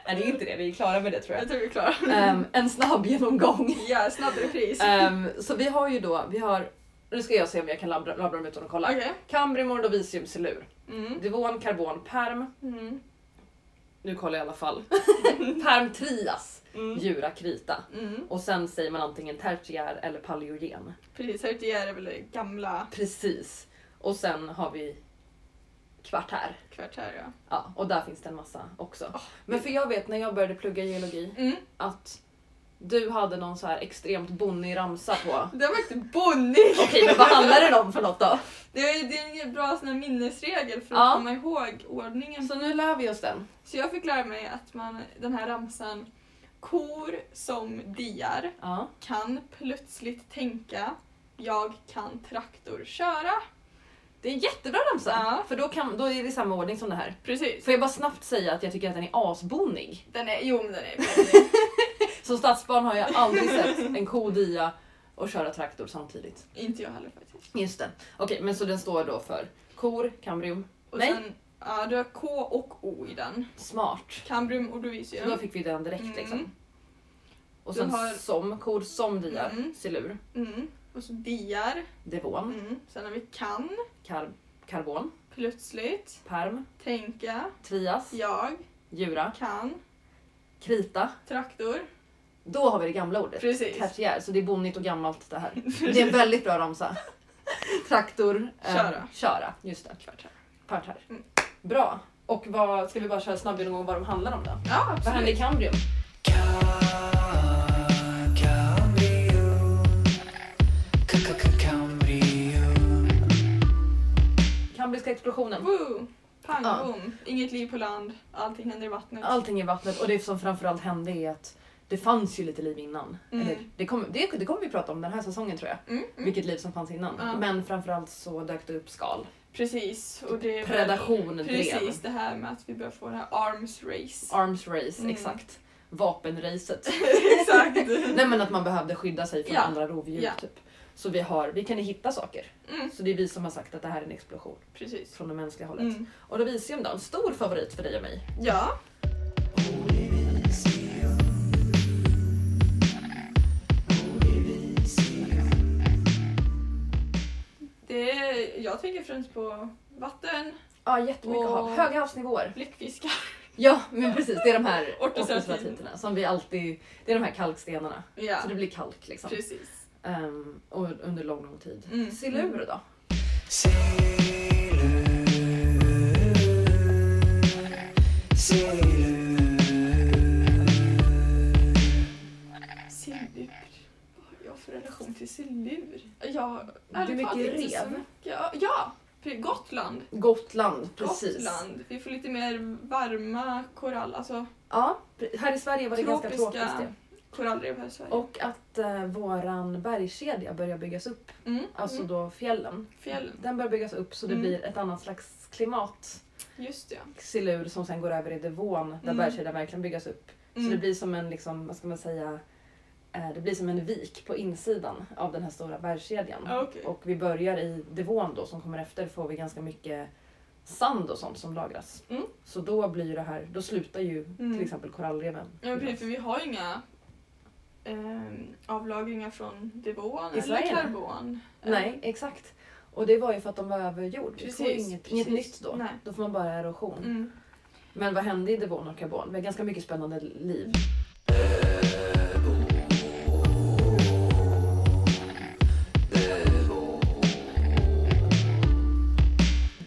Speaker 1: Nej det är inte det, vi är klara med det tror jag.
Speaker 2: Jag tror vi är klara.
Speaker 1: Ehm, en snabb genomgång.
Speaker 2: Ja, snabb repris.
Speaker 1: Ehm, så vi har ju då, vi har, nu ska jag se om jag kan labbra, labbra dem utan att kolla.
Speaker 2: Okej.
Speaker 1: Cambrium, ordovisium, silur.
Speaker 2: Mm.
Speaker 1: Devon, karbon, perm.
Speaker 2: Mm.
Speaker 1: Nu kollar jag i alla fall. perm, trias,
Speaker 2: Mm.
Speaker 1: jura, krita.
Speaker 2: Mm.
Speaker 1: Och sen säger man antingen tertiär eller paleogen.
Speaker 2: Precis, Hertier är väl det gamla
Speaker 1: Precis. Och sen har vi kvartär.
Speaker 2: kvartär, ja.
Speaker 1: Ja, och där finns det en massa också.
Speaker 2: Ah,
Speaker 1: Men för jag vet när jag började plugga geologi
Speaker 2: Mm.
Speaker 1: att du hade någon så här extremt bonnig ramsa på.
Speaker 2: Det var inte Bonnie!
Speaker 1: Okej, men vad handlar det om för något då?
Speaker 2: Det är, det är en bra sån här minnesregel för att
Speaker 1: Ja.
Speaker 2: komma ihåg ordningen.
Speaker 1: Så nu lär vi oss den.
Speaker 2: Så jag fick lära mig att man, den här ramsan Kor som diar
Speaker 1: Ja.
Speaker 2: kan plötsligt tänka Jag kan traktor köra.
Speaker 1: Det är en jättebra ramsa.
Speaker 2: Ja.
Speaker 1: För då, kan, då är det samma ordning som det här.
Speaker 2: Precis.
Speaker 1: Får jag bara snabbt säga att jag tycker att den är asbonig.
Speaker 2: Den är, jo men den är
Speaker 1: Som stadsbarn har jag aldrig sett en ko dia och köra traktor samtidigt.
Speaker 2: Inte jag heller faktiskt.
Speaker 1: Just det. Okej, men så den står då för kor, kambrium,
Speaker 2: Och
Speaker 1: Nej.
Speaker 2: sen, ja du har K och O i den.
Speaker 1: smart.
Speaker 2: Cambrium och
Speaker 1: Så då
Speaker 2: Dovisium.
Speaker 1: fick vi den direkt
Speaker 2: Mm.
Speaker 1: liksom. Och
Speaker 2: Du
Speaker 1: sen
Speaker 2: har-
Speaker 1: som, kor som diar,
Speaker 2: Mm.
Speaker 1: silur,
Speaker 2: Mm. Och så diar.
Speaker 1: devon,
Speaker 2: Mm. Sen har vi kan
Speaker 1: kar, karbon,
Speaker 2: plötsligt
Speaker 1: perm,
Speaker 2: tänka
Speaker 1: trias,
Speaker 2: Jag
Speaker 1: jura,
Speaker 2: kan
Speaker 1: krita.
Speaker 2: traktor.
Speaker 1: Då har vi det gamla ordet.
Speaker 2: Precis.
Speaker 1: Tertiär, så det är bonnigt och gammalt det här. Det är en väldigt bra ramsa. Traktor, eh,
Speaker 2: Köra.
Speaker 1: köra. Just det.
Speaker 2: Kvartär.
Speaker 1: Kvartär.
Speaker 2: Mm.
Speaker 1: Bra. Och vad, ska vi bara köra en snabb genomgång vad de handlar om då?
Speaker 2: Ja,
Speaker 1: Vad händer i
Speaker 2: absolut.
Speaker 1: kambrium?
Speaker 3: Cambrium,
Speaker 1: kemiska explosionen.
Speaker 2: Woo! Pang
Speaker 1: Ja.
Speaker 2: boom! Inget liv på land, allting händer i vattnet.
Speaker 1: Allting i vattnet och det som framförallt hände är att det fanns ju lite liv innan.
Speaker 2: Mm.
Speaker 1: Eller, det, kommer, det, det kommer vi prata om den här säsongen tror jag.
Speaker 2: Mm, mm.
Speaker 1: Vilket liv som fanns innan.
Speaker 2: Ja.
Speaker 1: Men framförallt så dök det upp skal.
Speaker 2: Precis. Och det är väl-
Speaker 1: Predation drev.
Speaker 2: Precis det här med att vi börjar få det här arms race.
Speaker 1: Arms race,
Speaker 2: Mm.
Speaker 1: exakt. Vapenracet.
Speaker 2: Exakt.
Speaker 1: Nej men att man behövde skydda sig från
Speaker 2: Ja.
Speaker 1: andra rovdjur
Speaker 2: Ja.
Speaker 1: typ. Så vi, har, vi kan ju hitta saker.
Speaker 2: Mm,
Speaker 1: Så det är vi som har sagt att det här är en explosion
Speaker 2: precis.
Speaker 1: från det mänskliga hållet.
Speaker 2: Mm.
Speaker 1: Och Rovisium då, en stor favorit för dig och mig.
Speaker 2: Ja. Det är, jag tänker främst på vatten,
Speaker 1: Ja, jättemycket
Speaker 2: Och-
Speaker 1: hav. Höga havsnivåer.
Speaker 2: bläckfiskar.
Speaker 1: Ja, men precis. Det är de här
Speaker 2: Ortoceratiter.
Speaker 1: ortoceratiterna som vi alltid... Det är de här kalkstenarna.
Speaker 2: Ja,
Speaker 1: Så det blir kalk liksom.
Speaker 2: precis.
Speaker 1: Ehm, och under lång, lång tid.
Speaker 2: Mm.
Speaker 1: Silur då?
Speaker 2: Silur. Vad har jag för relation till silur? Jag
Speaker 1: Det är mycket
Speaker 2: talat inte så
Speaker 1: rev.
Speaker 2: mycket. Ja, Ja, pre- Gotland.
Speaker 1: Gotland, precis.
Speaker 2: Gotland. Vi får lite mer varma korall, alltså
Speaker 1: Ja, pre- här i Sverige var det ganska
Speaker 2: Tropiska-
Speaker 1: tropiskt det.
Speaker 2: korallrev här i Sverige.
Speaker 1: Och att eh, våran bergskedja börjar byggas upp,
Speaker 2: mm,
Speaker 1: alltså
Speaker 2: mm,
Speaker 1: då fjällen.
Speaker 2: fjällen.
Speaker 1: Den börjar byggas upp så det
Speaker 2: Mm.
Speaker 1: blir ett annat slags klimat.
Speaker 2: Just det.
Speaker 1: Silur som sen går över i devån där
Speaker 2: Mm.
Speaker 1: bergskedjan verkligen byggas upp. Så det blir som en, liksom, vad ska man säga, eh, det blir som en vik på insidan av den här stora bergskedjan.
Speaker 2: Ja, okej.
Speaker 1: Och vi börjar i devån då som kommer efter får vi ganska mycket sand och sånt som lagras.
Speaker 2: Mm.
Speaker 1: Så då blir ju det här, då slutar ju till
Speaker 2: Mm.
Speaker 1: exempel korallreven.
Speaker 2: Ja, men precis, för vi har ju inga ehm, avlagringar från devån
Speaker 1: I
Speaker 2: eller
Speaker 1: Sverige?
Speaker 2: karbon.
Speaker 1: Nej, exakt. Och det var ju för att de var över jord.
Speaker 2: Precis,
Speaker 1: vi får inget, inget nytt
Speaker 2: precis.
Speaker 1: då.
Speaker 2: Nej.
Speaker 1: Då får man bara erosion.
Speaker 2: Mm.
Speaker 1: Men vad hände i devon och karbon? Vi har ganska mycket spännande liv.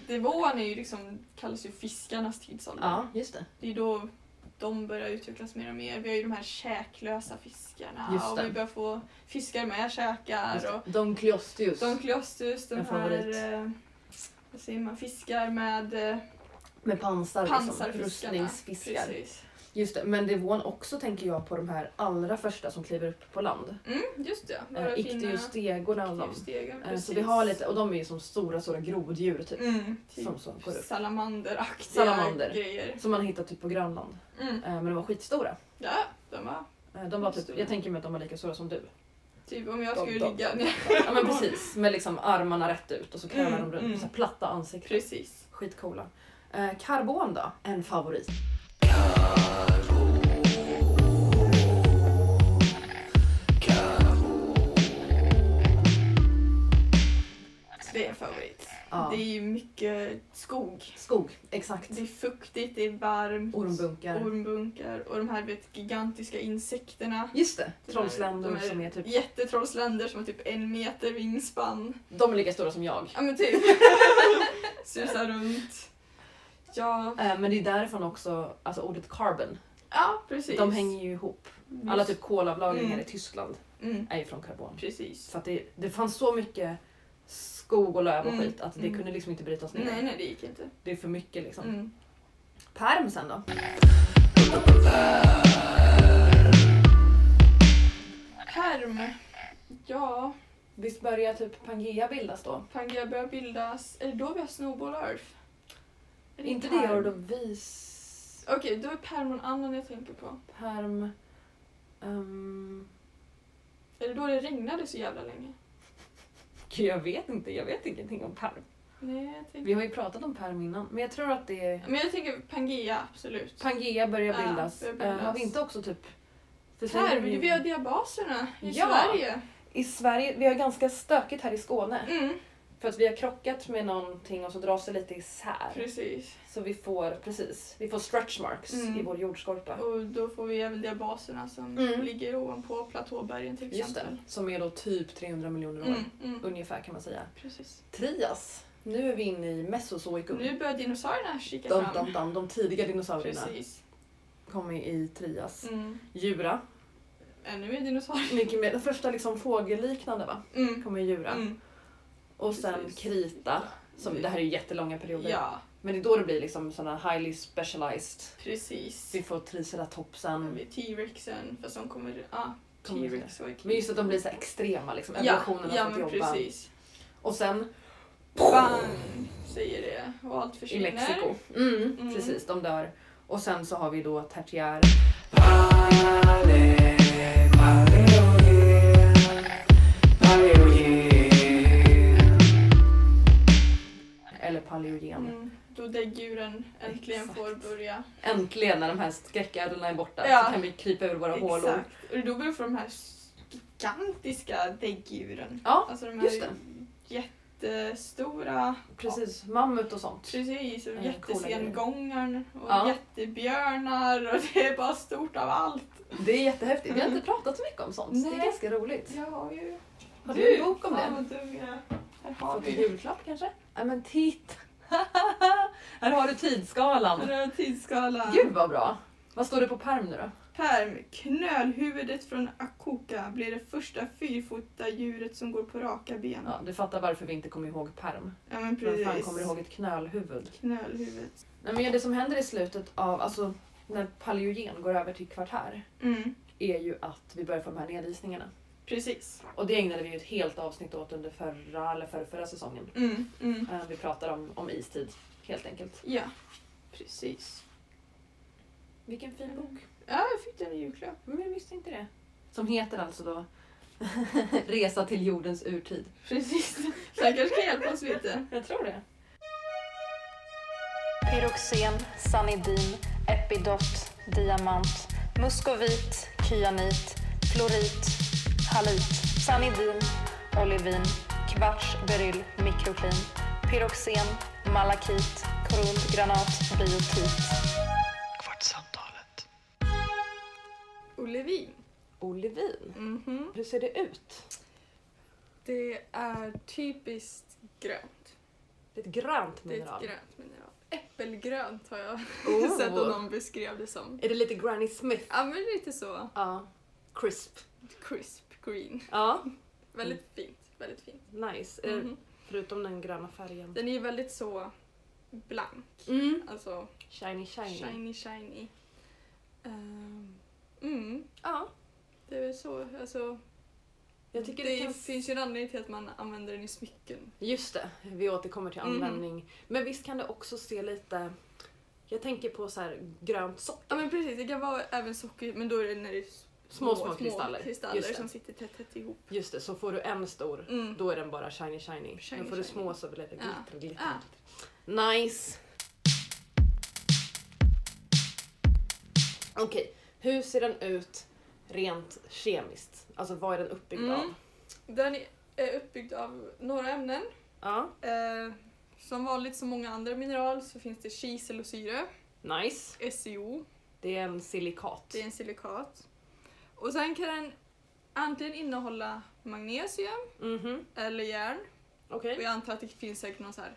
Speaker 2: Devån är ju liksom, kallas ju fiskarnas tidsålder.
Speaker 1: Ja, just det.
Speaker 2: Det är då de börjar utvecklas mer och mer. Vi har ju de här käklösa fiskarna
Speaker 1: Just
Speaker 2: och
Speaker 1: det.
Speaker 2: vi börjar få fiskar med käkar.
Speaker 1: Just
Speaker 2: och
Speaker 1: det. Don Cleostius.
Speaker 2: De Cleostus, de
Speaker 1: En favorit.
Speaker 2: här eh, vad säger man, fiskar med eh,
Speaker 1: Med pansar, liksom.
Speaker 2: pansarfiskarna.
Speaker 1: Rustningsfiskar.
Speaker 2: Precis.
Speaker 1: Just det, men devon också tänker jag på de här allra första som kliver upp på land.
Speaker 2: Mm, just det.
Speaker 1: Eh, Ictiostegorna och dem.
Speaker 2: Ictiostegen,
Speaker 1: Eh, Så vi har lite, och de är ju som stora, stora groddjur typ.
Speaker 2: mm, typ
Speaker 1: Som, som går upp.
Speaker 2: salamanderaktiga
Speaker 1: Salamander.
Speaker 2: grejer.
Speaker 1: Som man hittar typ på Grönland.
Speaker 2: Mm.
Speaker 1: Eh, Men de var skitstora.
Speaker 2: Ja, de var
Speaker 1: Eh, De var typ,
Speaker 2: Stora.
Speaker 1: jag tänker mig att de var lika stora som du.
Speaker 2: typ om jag
Speaker 1: De-
Speaker 2: skulle
Speaker 1: de-
Speaker 2: ligga...
Speaker 1: de-
Speaker 2: Nej,
Speaker 1: Ja men precis, med liksom armarna rätt ut och så krölar
Speaker 2: Mm,
Speaker 1: de runt.
Speaker 2: mm.
Speaker 1: Så här platta ansikten.
Speaker 2: precis.
Speaker 1: Skitcoola. Eh, karbon då? En favorit.
Speaker 2: Det är en favorit.
Speaker 1: Ja.
Speaker 2: Det är ju mycket skog.
Speaker 1: Skog, exakt.
Speaker 2: Det är fuktigt, det är varmt.
Speaker 1: Ormbunkar.
Speaker 2: Ormbunkar och de här vet, gigantiska insekterna.
Speaker 1: Just det,
Speaker 2: De är-
Speaker 1: trollsländor
Speaker 2: de är-
Speaker 1: som är typ...
Speaker 2: Jättetrollsländer som har typ en meter vingspann.
Speaker 1: De är lika stora som jag.
Speaker 2: Ja men typ. Susar runt. Ja,
Speaker 1: Eh, Men det är därifrån också, alltså ordet carbon.
Speaker 2: ja precis.
Speaker 1: De hänger ju ihop. Alla typ kolavlagringar
Speaker 2: Mm.
Speaker 1: i Tyskland
Speaker 2: Mm,
Speaker 1: är ju från karbon.
Speaker 2: precis.
Speaker 1: Så att det, det fanns så mycket skog och löv och
Speaker 2: Mm.
Speaker 1: skit att det
Speaker 2: Mm.
Speaker 1: kunde liksom inte brytas ner.
Speaker 2: Nej, nej det gick inte.
Speaker 1: Det är för mycket liksom.
Speaker 2: Mm.
Speaker 1: Perm sen då?
Speaker 2: Perm. Ja,
Speaker 1: Visst börjar typ Pangea bildas då?
Speaker 2: Pangea börjar bildas. Är det då vi har Snowball Earth? Är
Speaker 1: inte
Speaker 2: perm?
Speaker 1: det Ordovis...
Speaker 2: Okej, då är perm någon annan jag tänker på.
Speaker 1: Perm... ehm,
Speaker 2: Är det då det regnade så jävla länge?
Speaker 1: Gud, jag vet inte, jag vet ingenting om perm.
Speaker 2: Nej, jag tänker...
Speaker 1: Vi har ju pratat om perm innan, men jag tror att det är...
Speaker 2: Men jag tänker Pangea, absolut.
Speaker 1: Pangea börjar
Speaker 2: Ja,
Speaker 1: bildas.
Speaker 2: börjar
Speaker 1: Eh,
Speaker 2: bildas.
Speaker 1: har vi inte också typ... för sen har
Speaker 2: Perm,
Speaker 1: vi-
Speaker 2: vi har diabaserna i
Speaker 1: Ja.
Speaker 2: Sverige.
Speaker 1: I Sverige, vi har ganska stökigt här i Skåne.
Speaker 2: Mm,
Speaker 1: För att vi har krockat med någonting och så dras det lite isär.
Speaker 2: precis.
Speaker 1: Så vi får, precis, vi får stretch marks
Speaker 2: Mm.
Speaker 1: i vår jordskorpa.
Speaker 2: Och då får vi även diabaserna som
Speaker 1: Mm.
Speaker 2: ligger ovanpå platåbergen till
Speaker 1: Just det,
Speaker 2: exempel.
Speaker 1: som är då typ 300 miljoner år.
Speaker 2: Mm, mm,
Speaker 1: Ungefär kan man säga.
Speaker 2: precis.
Speaker 1: Trias. Nu är vi inne i mesozoikum.
Speaker 2: Nu börjar dinosaurierna kika
Speaker 1: de,
Speaker 2: fram.
Speaker 1: de, de, de tidiga dinosaurierna
Speaker 2: Precis.
Speaker 1: kom i trias.
Speaker 2: Mm.
Speaker 1: Djura.
Speaker 2: Ännu mer dinosaurier.
Speaker 1: Mycket mer, den första liksom fågelliknande va?
Speaker 2: Mm.
Speaker 1: kom i djura.
Speaker 2: Mm.
Speaker 1: Och sen
Speaker 2: Precis.
Speaker 1: krita. Som, det här är ju jättelånga perioder.
Speaker 2: Ja,
Speaker 1: Men det är då det blir liksom sådana highly specialized.
Speaker 2: precis.
Speaker 1: Vi får triceratopsen.
Speaker 2: Vid T-rexen, fast de kommer... Ja,
Speaker 1: Kommer inte.
Speaker 2: T-rex var
Speaker 1: Men just att de blir så här extrema liksom.
Speaker 2: Ja,
Speaker 1: Evolutionen
Speaker 2: ja
Speaker 1: har fått
Speaker 2: men
Speaker 1: jobba.
Speaker 2: precis.
Speaker 1: Och sen
Speaker 2: Bang! Säger det. Och allt
Speaker 1: i
Speaker 2: försvinner.
Speaker 1: Mexiko. Mm,
Speaker 2: Mm.
Speaker 1: Precis, de dör. Och sen så har vi då tertiär. Eller paleogen.
Speaker 2: Mm, då däggdjuren äntligen
Speaker 1: Exakt.
Speaker 2: får börja.
Speaker 1: Äntligen när de här skräckädlorna är borta
Speaker 2: Ja.
Speaker 1: så kan vi krypa ur våra hålor.
Speaker 2: Exakt. Och då börjar få de här gigantiska däggdjuren.
Speaker 1: Ja,
Speaker 2: Alltså de
Speaker 1: just
Speaker 2: här jättestora.
Speaker 1: Precis, mammut och sånt.
Speaker 2: Precis, och
Speaker 1: Eh,
Speaker 2: jättesengångaren och
Speaker 1: Ja.
Speaker 2: jättebjörnar och det är bara stort av allt.
Speaker 1: Det är jättehäftigt. Vi har inte pratat så mycket om sånt. Det är
Speaker 2: Mm. Nej.
Speaker 1: ganska roligt.
Speaker 2: Jag har ju...
Speaker 1: Har du en bok om
Speaker 2: fan
Speaker 1: det?
Speaker 2: vad dum jag är. Här har
Speaker 1: Fått en
Speaker 2: vi.
Speaker 1: julklapp kanske? Nej men titta! Här har du tidsskalan.
Speaker 2: Röd tidsskala.
Speaker 1: Gud vad bra! Vad står det på perm nu då?
Speaker 2: Perm, knölhuvudet från Akoka blir det första fyrfota djuret som går på raka ben.
Speaker 1: Ja, du fattar varför vi inte kommer ihåg perm.
Speaker 2: Ja, men
Speaker 1: Vem
Speaker 2: precis.
Speaker 1: fan kommer ihåg ett knölhuvud?
Speaker 2: Knölhuvudet.
Speaker 1: Nej men det som händer i slutet av, alltså när paleogen går över till kvartär
Speaker 2: Mm,
Speaker 1: är ju att vi börjar få de här nedisningarna.
Speaker 2: precis.
Speaker 1: Och det ägnade vi ju ett helt avsnitt åt under förra eller förra, förra säsongen.
Speaker 2: Mm, mm.
Speaker 1: Eh, Vi pratar om, om istid helt enkelt.
Speaker 2: Ja, precis.
Speaker 1: Vilken fin bok.
Speaker 2: Ja, jag fick den i julklapp.
Speaker 1: Men jag visste inte det. Som heter alltså då Resa till jordens urtid.
Speaker 2: Precis. Så här kanske kan hjälpa oss lite.
Speaker 1: Jag tror det.
Speaker 3: Pyroxen, sanidin, epidot, diamant, muskovit, kyanit, florit, halit, sanidin, olivin, kvarts, beryl, mikroklin, pyroxen, malakit, korundgranat, biotit.
Speaker 2: Olivin.
Speaker 1: Olivin.
Speaker 2: Mhm.
Speaker 1: Hur ser det ut?
Speaker 2: Det är typiskt grönt.
Speaker 1: Det är ett grönt
Speaker 2: Det är
Speaker 1: mineral.
Speaker 2: ett grönt mineral. Äppelgrönt har jag
Speaker 1: Oh.
Speaker 2: sett att någon beskrev det som.
Speaker 1: Är det lite Granny Smith?
Speaker 2: Ja, men lite så
Speaker 1: Ja. Crisp.
Speaker 2: crisp green.
Speaker 1: Ja.
Speaker 2: Väldigt fint. Väldigt fint.
Speaker 1: Nice. Eh,
Speaker 2: Mhm.
Speaker 1: Förutom den gröna färgen.
Speaker 2: Den är ju väldigt så blank.
Speaker 1: Mm.
Speaker 2: Alltså
Speaker 1: Shiny, shiny.
Speaker 2: shiny shiny. Ehm, mm,
Speaker 1: Ja.
Speaker 2: det är väl så. Alltså,
Speaker 1: Jag tycker det,
Speaker 2: det
Speaker 1: kan...
Speaker 2: finns ju en anledning till att man använder den i smycken.
Speaker 1: Just det, vi återkommer till
Speaker 2: Mhm.
Speaker 1: användning. Men visst kan det också se lite... Jag tänker på så här grönt socker.
Speaker 2: Ja men precis, det kan vara även socker men då är det när det är små,
Speaker 1: Små, små kristaller.
Speaker 2: kristaller
Speaker 1: Just det.
Speaker 2: som sitter tätt, tätt ihop.
Speaker 1: Just det, så får du en stor
Speaker 2: Mm.
Speaker 1: då är den bara shiny shiny.
Speaker 2: Shiny,
Speaker 1: Men får du
Speaker 2: shiny.
Speaker 1: små så blir det
Speaker 2: Ja.
Speaker 1: glitter, glitter,
Speaker 2: Ja.
Speaker 1: glitter. Nice! Okej, hur ser den ut rent kemiskt? Alltså vad är den uppbyggd av?
Speaker 2: Mm. Den är uppbyggd av några ämnen.
Speaker 1: Ja,
Speaker 2: Eh, som vanligt som många andra mineral så finns det kisel och syre,
Speaker 1: nice.
Speaker 2: SiO,
Speaker 1: Det är en silikat.
Speaker 2: det är en silikat. Och sen kan den antingen innehålla magnesium
Speaker 1: Mhm,
Speaker 2: eller järn.
Speaker 1: okej.
Speaker 2: Och jag antar att det finns säkert någon så här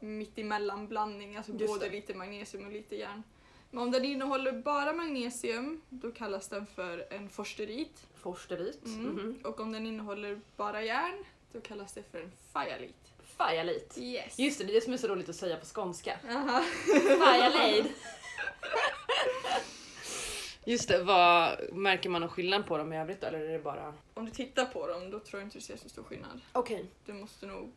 Speaker 2: mittemellan blandning, alltså
Speaker 1: Just
Speaker 2: både
Speaker 1: det.
Speaker 2: lite magnesium och lite järn. Men om den innehåller bara magnesium, då kallas den för en forsterit.
Speaker 1: Forsterit.
Speaker 2: Mm.
Speaker 1: Mhm.
Speaker 2: Och om den innehåller bara järn, då kallas det för en fajalit.
Speaker 1: Fajalit.
Speaker 2: Yes!
Speaker 1: Just det, det är det som är så roligt att säga på skånska.
Speaker 2: Aha.
Speaker 1: Fajalit. Just det, vad märker man någon skillnad på dem i övrigt då? Eller är det bara...
Speaker 2: Om du tittar på dem, då tror jag inte du ser så stor skillnad.
Speaker 1: Okej.
Speaker 2: Du måste nog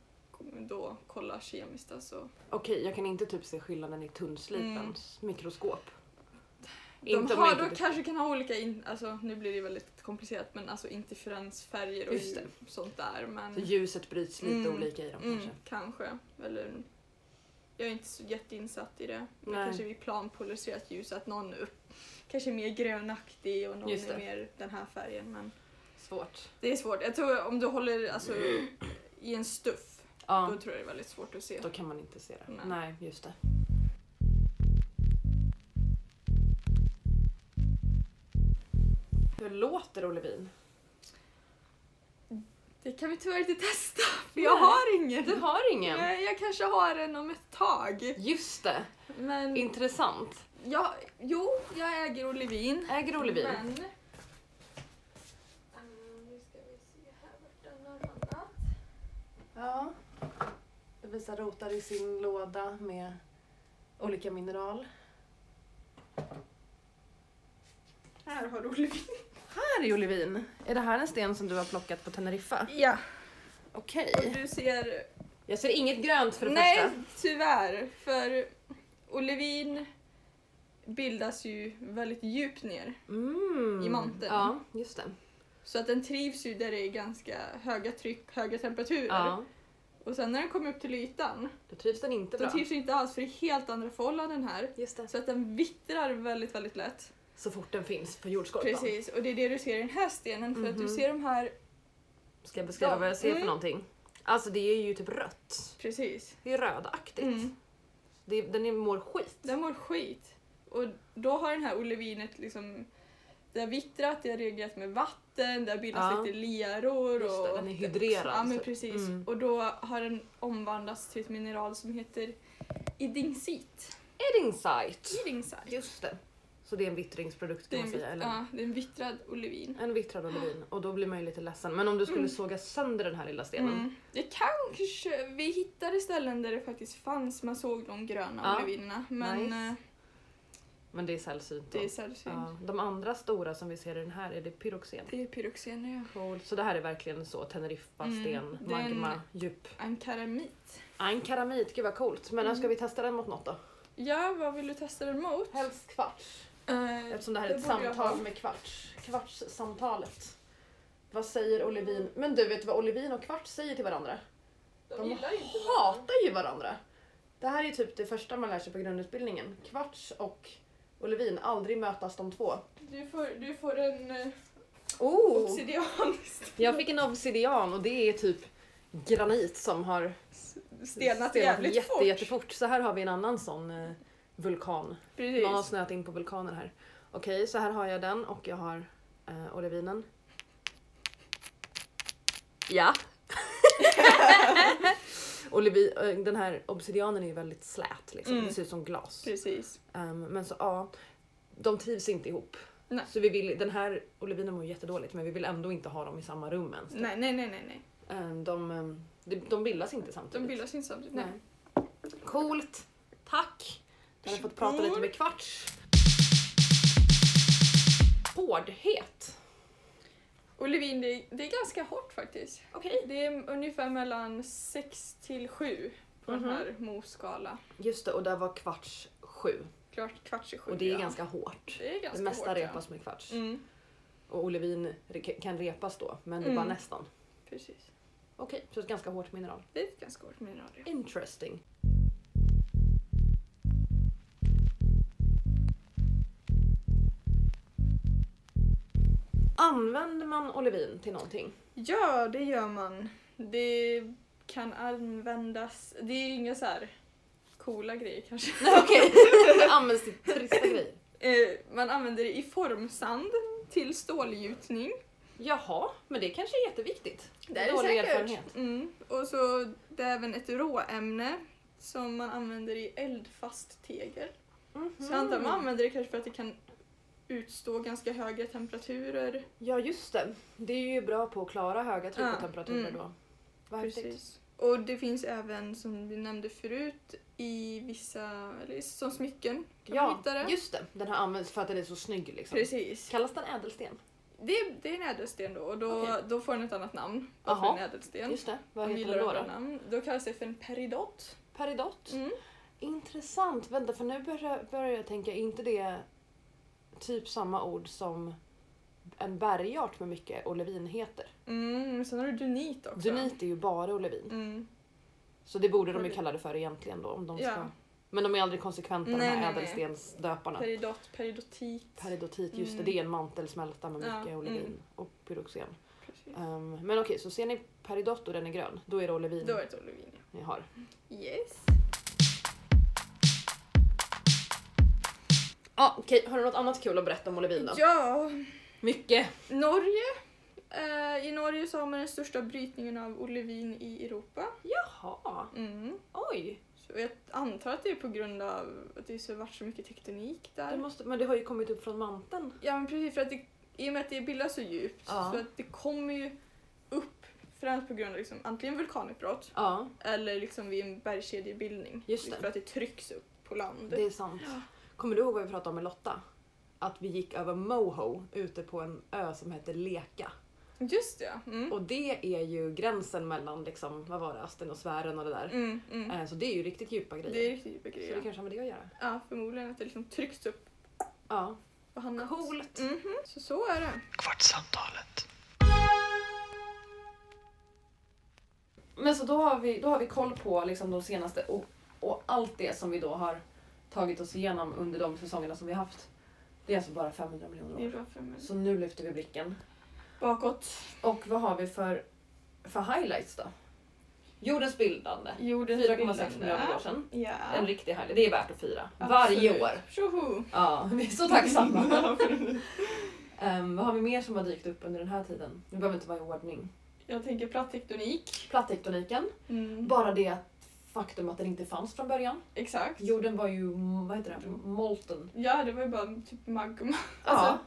Speaker 2: då kolla kemiskt alltså.
Speaker 1: Okej, jag kan inte typ se skillnaden i tunnslipens mikroskop.
Speaker 2: Mm. De
Speaker 1: Inte om
Speaker 2: har,
Speaker 1: jag inte
Speaker 2: de
Speaker 1: bes-
Speaker 2: kanske kan ha olika, in, alltså nu blir det ju väldigt komplicerat, men alltså interferensfärger och
Speaker 1: Just det.
Speaker 2: sånt där. Men...
Speaker 1: Så ljuset bryts lite
Speaker 2: Mm.
Speaker 1: olika i dem
Speaker 2: Mm,
Speaker 1: kanske.
Speaker 2: kanske. Eller, jag är inte så jätteinsatt i det. Men
Speaker 1: Nej.
Speaker 2: kanske vid planpolariserat ljus, att någon upp, kanske är mer grönaktig och någon
Speaker 1: Just
Speaker 2: är
Speaker 1: det.
Speaker 2: mer den här färgen. Men
Speaker 1: Svårt.
Speaker 2: det är svårt. Jag tror om du håller alltså, i en stuff,
Speaker 1: Ja,
Speaker 2: då tror jag det är väldigt svårt att se.
Speaker 1: då kan man inte se det. Nej,
Speaker 2: Nej.
Speaker 1: just det. Hur låter olivin?
Speaker 2: Det kan vi tyvärr inte testa, för
Speaker 1: Nej.
Speaker 2: jag har ingen.
Speaker 1: Du har ingen?
Speaker 2: Nej, jag kanske har en om ett tag.
Speaker 1: Just det,
Speaker 2: Men
Speaker 1: intressant.
Speaker 2: jag, jo, jag äger olivin.
Speaker 1: Äger olivin?
Speaker 4: Mm.
Speaker 2: Men... Mm, Eh, nu ska vi se här vart den har hamnat.
Speaker 1: Ja. Det blir
Speaker 4: Lisa rotar i sin låda med olika mineral.
Speaker 2: Här har Olivin.
Speaker 4: Här är olivin. Är det här en sten som du har plockat på Teneriffa?
Speaker 2: Ja.
Speaker 4: Okej.
Speaker 2: Och du ser...
Speaker 1: Jag ser inget grönt för det
Speaker 2: Nej,
Speaker 1: första.
Speaker 2: tyvärr. För olivin bildas ju väldigt djupt ner.
Speaker 1: Mm.
Speaker 2: I manteln.
Speaker 1: Ja, just det.
Speaker 2: Så att den trivs ju där det är ganska höga tryck, höga temperaturer.
Speaker 1: Ja.
Speaker 2: Och sen när den kommer upp till ytan,
Speaker 1: Då trivs den inte
Speaker 2: då
Speaker 1: bra.
Speaker 2: trivs den inte alls för det är helt andra förhållanden här.
Speaker 1: Just det.
Speaker 2: Så att den vittrar väldigt, väldigt lätt.
Speaker 1: Så fort den finns på jordskorpan.
Speaker 2: Precis, och det är det du ser i den här stenen. För att du
Speaker 1: Mhm.
Speaker 2: ser de här...
Speaker 1: Ska jag beskriva
Speaker 2: Ja.
Speaker 1: vad jag ser
Speaker 2: Mm.
Speaker 1: för någonting? Alltså det är ju typ rött.
Speaker 2: Precis.
Speaker 1: Det är rödaktigt.
Speaker 2: Mm.
Speaker 1: Det är, den är mår skit.
Speaker 2: Den mår skit. Och då har den här olivinet liksom... Det har vittrat, det har reagerat med vatten, det har bildats
Speaker 1: Ja.
Speaker 2: lite leror.
Speaker 1: Just
Speaker 2: Och
Speaker 1: det, den är hydrerad,
Speaker 2: Ja men
Speaker 1: typ.
Speaker 2: precis.
Speaker 1: Mm.
Speaker 2: Och då har den omvandlats till ett mineral som heter idingsit.
Speaker 1: Edding sight.
Speaker 2: Idingsite.
Speaker 1: Just det. Så det är en vittringsprodukt
Speaker 2: Det
Speaker 1: kan
Speaker 2: är,
Speaker 1: man
Speaker 2: en,
Speaker 1: säga.
Speaker 2: vit-
Speaker 1: Eller?
Speaker 2: ja, det är en vittrad olivin.
Speaker 1: En vittrad olivin och då blir man ju lite ledsen. Men om du skulle såga sönder den här lilla stenen.
Speaker 2: Mm. Det kanske... Vi hittade ställen där det faktiskt fanns, man såg de gröna
Speaker 1: Ja.
Speaker 2: olivinerna. Men
Speaker 1: Nice.
Speaker 2: eh,
Speaker 1: Men det är sällsynt. då.
Speaker 2: det är sällsynt.
Speaker 1: ja. De andra stora som vi ser i den här är det pyroxen.
Speaker 2: Det är pyroxener, ja.
Speaker 1: Coolt. Så det här är verkligen så Teneriffa,
Speaker 2: Mm,
Speaker 1: sten,
Speaker 2: det är en-
Speaker 1: magma, djup.
Speaker 2: Ankaramit.
Speaker 1: Ankaramit, gud vad coolt. Men mm. ska vi testa den mot något då?
Speaker 2: Ja, vad vill du testa den mot?
Speaker 1: Helst kvarts.
Speaker 2: Eh,
Speaker 1: Eftersom det här är ett
Speaker 2: Det borde jag
Speaker 1: samtal
Speaker 2: ha.
Speaker 1: med kvarts. Kvartssamtalet. Vad säger Olivin? Men du, vet du vad Olivin och kvarts säger till varandra?
Speaker 2: de
Speaker 1: De
Speaker 2: gillar inte varandra.
Speaker 1: hatar ju varandra. Det här är typ det första man lär sig på grundutbildningen. Kvarts och Olivin, aldrig mötas de två.
Speaker 2: Du får, du får en eh,
Speaker 1: Oh!
Speaker 2: obsidian
Speaker 1: Jag fick en obsidian och det är typ granit som har
Speaker 2: stenat jävligt
Speaker 1: jätte,
Speaker 2: fort.
Speaker 1: jättefort. Så här har vi en annan sån eh, vulkan.
Speaker 2: Precis.
Speaker 1: Man har snöat in på vulkaner här. Okej, så här har jag den och jag har eh, olivinen. Ja. Olivi, eh, den här obsidianen är ju väldigt slät, liksom.
Speaker 2: Mm.
Speaker 1: det ser ut som glas.
Speaker 2: Precis.
Speaker 1: Ehm, men så ja, de trivs inte ihop.
Speaker 2: Nej.
Speaker 1: Så vi vill, den här olivinen mår jättedåligt men vi vill ändå inte ha dem i samma rum ens.
Speaker 2: Nej, nej, nej, nej. nej.
Speaker 1: Ehm, de, ehm, de, de bildas inte samtidigt.
Speaker 2: De bildas inte samtidigt. Nej.
Speaker 1: Nej. Coolt! Tack! Jag har fått prata lite med Kvarts. Hårdhet.
Speaker 2: Olivin, det, det är ganska hårt faktiskt.
Speaker 1: Okej.
Speaker 2: Det är ungefär mellan 6 till 7 på
Speaker 1: Mhm.
Speaker 2: den här mosskala.
Speaker 1: Just det, och där var Kvarts sju.
Speaker 2: Klart kvarts i sju.
Speaker 1: Och det är
Speaker 2: ja.
Speaker 1: ganska hårt.
Speaker 2: det är ganska
Speaker 1: det mesta
Speaker 2: hårt,
Speaker 1: repas med Kvarts.
Speaker 2: Ja. Mm,
Speaker 1: Och Olivin re- kan repas då, men det är
Speaker 2: Mm.
Speaker 1: bara nästan.
Speaker 2: precis.
Speaker 1: Okej, så ett ganska hårt mineral.
Speaker 2: Det är ett ganska hårt mineral. ja.
Speaker 1: Interesting. Använder man olivin till någonting?
Speaker 2: Ja, det gör man. Det kan användas... Det är inga så här coola grejer kanske.
Speaker 1: Nej okej, används till trista grejer.
Speaker 2: Eh, man använder det i formsand till stålgjutning.
Speaker 1: Jaha, men det kanske är jätteviktigt.
Speaker 2: Det är det
Speaker 1: Dålig
Speaker 2: säkert.
Speaker 1: erfarenhet.
Speaker 2: Mm. Och så det är även ett råämne som man använder i eldfast tegel.
Speaker 1: Mhm.
Speaker 2: Så jag antar att man använder det kanske för att det kan utstå ganska höga temperaturer.
Speaker 1: Ja just det, det är ju bra på att klara höga tryck
Speaker 2: Ja,
Speaker 1: och temperaturer
Speaker 2: mm.
Speaker 1: då. Vad häftigt.
Speaker 2: Och det finns även, som vi nämnde förut, i vissa, eller som smycken. Kan man
Speaker 1: Ja,
Speaker 2: hitta det?
Speaker 1: just det. Den har använts för att den är så snygg liksom.
Speaker 2: Precis.
Speaker 1: Kallas den ädelsten?
Speaker 2: Det, det är en ädelsten då och då,
Speaker 1: Okej.
Speaker 2: då får den ett annat namn. Bara för
Speaker 1: Aha.
Speaker 2: en ädelsten.
Speaker 1: Just det, vad
Speaker 2: Om vi
Speaker 1: heter den
Speaker 2: gillar
Speaker 1: då?
Speaker 2: att
Speaker 1: då?
Speaker 2: ha Namn. Då kallas det för en peridot.
Speaker 1: Peridot?
Speaker 2: Mm.
Speaker 1: Intressant. Vänta, för nu börjar, börjar jag tänka, är inte det typ samma ord som en bergart med mycket olivin heter?
Speaker 2: Mm, sen har du dunit också.
Speaker 1: Dunit är ju bara olivin.
Speaker 2: Mm.
Speaker 1: Så det borde de ju
Speaker 2: Olivin.
Speaker 1: kalla det för egentligen då om de ska.
Speaker 2: Ja.
Speaker 1: Men de är aldrig konsekventa de
Speaker 2: Nej,
Speaker 1: här
Speaker 2: nej, nej.
Speaker 1: ädelstensdöparna.
Speaker 2: Peridot, peridotit.
Speaker 1: Peridotit, just
Speaker 2: Mm.
Speaker 1: det, det är en mantelsmälta med
Speaker 2: Ja,
Speaker 1: mycket olivin
Speaker 2: mm.
Speaker 1: och pyroxen.
Speaker 2: Precis.
Speaker 1: Ehm, men okej, så ser ni peridot och den är grön, då är det olivin
Speaker 2: Då är det olivin. ja.
Speaker 1: ni har.
Speaker 2: Yes.
Speaker 1: Ah, okej, har du något annat kul att berätta om olivin då?
Speaker 2: Ja,
Speaker 1: Mycket!
Speaker 2: Norge. Eh, I Norge så har man den största brytningen av olivin i Europa.
Speaker 1: Jaha,
Speaker 2: Mm.
Speaker 1: oj!
Speaker 2: Så jag antar att det är på grund av att det har varit så mycket tektonik där.
Speaker 1: Det måste, men det har ju kommit upp från manteln.
Speaker 2: Ja men precis, för att det, i och med att det bildas så djupt
Speaker 1: Ja.
Speaker 2: så att det kommer ju upp Främst på grund av liksom, antingen vulkanutbrott
Speaker 5: Ja,
Speaker 2: eller liksom vid en bergskedjebildning.
Speaker 5: Just det.
Speaker 2: För att det trycks upp på land.
Speaker 5: det är sant. Kommer du ihåg vad vi pratade om med Lotta? Att vi gick över Moho ute på en ö som heter Leka.
Speaker 2: Just det, ja. Mm.
Speaker 5: Och det är ju gränsen mellan liksom, vad var det, Asten och sfären och det där.
Speaker 2: Mm, mm.
Speaker 5: Eh, Så det är ju riktigt djupa grejer.
Speaker 2: Det är riktigt djupa
Speaker 5: Så det
Speaker 2: grejer.
Speaker 5: kanske har med det att göra.
Speaker 2: Ja, förmodligen att det liksom trycks upp
Speaker 5: Ja.
Speaker 2: på handen.
Speaker 5: Coolt!
Speaker 2: Mhm, Så så är det.
Speaker 6: Kvartsamtalet.
Speaker 1: Men så då har vi, då har vi koll på liksom de senaste och, och allt det som vi då har tagit oss igenom under de säsongerna som vi har haft. Det är alltså bara 500
Speaker 2: Det
Speaker 1: miljoner
Speaker 5: Mm.
Speaker 2: är
Speaker 1: år.
Speaker 2: bra för mig.
Speaker 1: Så nu lyfter vi blicken.
Speaker 2: Bakåt.
Speaker 1: Och vad har vi för, för highlights då? Jordens bildande.
Speaker 2: Jordens
Speaker 1: 4,6 miljarder år sedan. En
Speaker 2: Ja.
Speaker 1: riktig highlight. Det är värt att fira.
Speaker 2: Absolut.
Speaker 1: Varje år.
Speaker 2: Tjoho!
Speaker 1: Ja, vi är så tacksamma. Ehm, vad har vi mer som har dykt upp under den här tiden? Det behöver inte vara i ordning.
Speaker 2: Jag tänker plattektonik.
Speaker 1: Plattektoniken.
Speaker 2: Mm.
Speaker 1: Bara det att faktum att den inte fanns från början.
Speaker 2: Exakt.
Speaker 1: Jorden var ju, vad heter det, här? molten.
Speaker 2: Ja, det var ju bara typ magma.
Speaker 1: ja.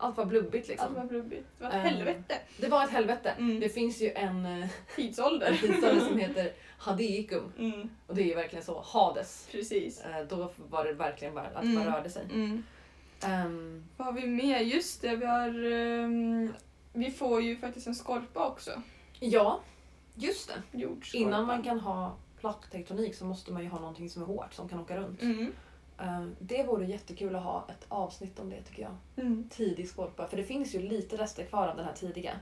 Speaker 1: Allt var blubbigt liksom.
Speaker 2: Allt var rubbigt. Alltså, Det var ett
Speaker 1: Ehm.
Speaker 2: helvete.
Speaker 1: Det var ett helvete.
Speaker 2: Mm.
Speaker 1: Det finns ju en eh, en
Speaker 2: Tidsålder.
Speaker 1: tidsålder som heter Hadeikum.
Speaker 2: Mm,
Speaker 1: Och det är ju verkligen så. Hades.
Speaker 2: precis.
Speaker 1: Eh, Då var det verkligen bara att
Speaker 2: Mm.
Speaker 1: man rörde sig.
Speaker 2: Mm.
Speaker 1: Ehm,
Speaker 2: Vad har vi mer? Just det, vi har... ehm, vi får ju faktiskt en skorpa också.
Speaker 1: ja, just det.
Speaker 2: Jordskorpa.
Speaker 1: Innan man kan ha plattektonik så måste man ju ha någonting som är hårt som kan åka runt.
Speaker 2: Mm.
Speaker 1: Eh, Det vore jättekul att ha ett avsnitt om det tycker jag.
Speaker 2: Mm.
Speaker 1: Tidig skorpa. För det finns ju lite rester kvar av den här tidiga.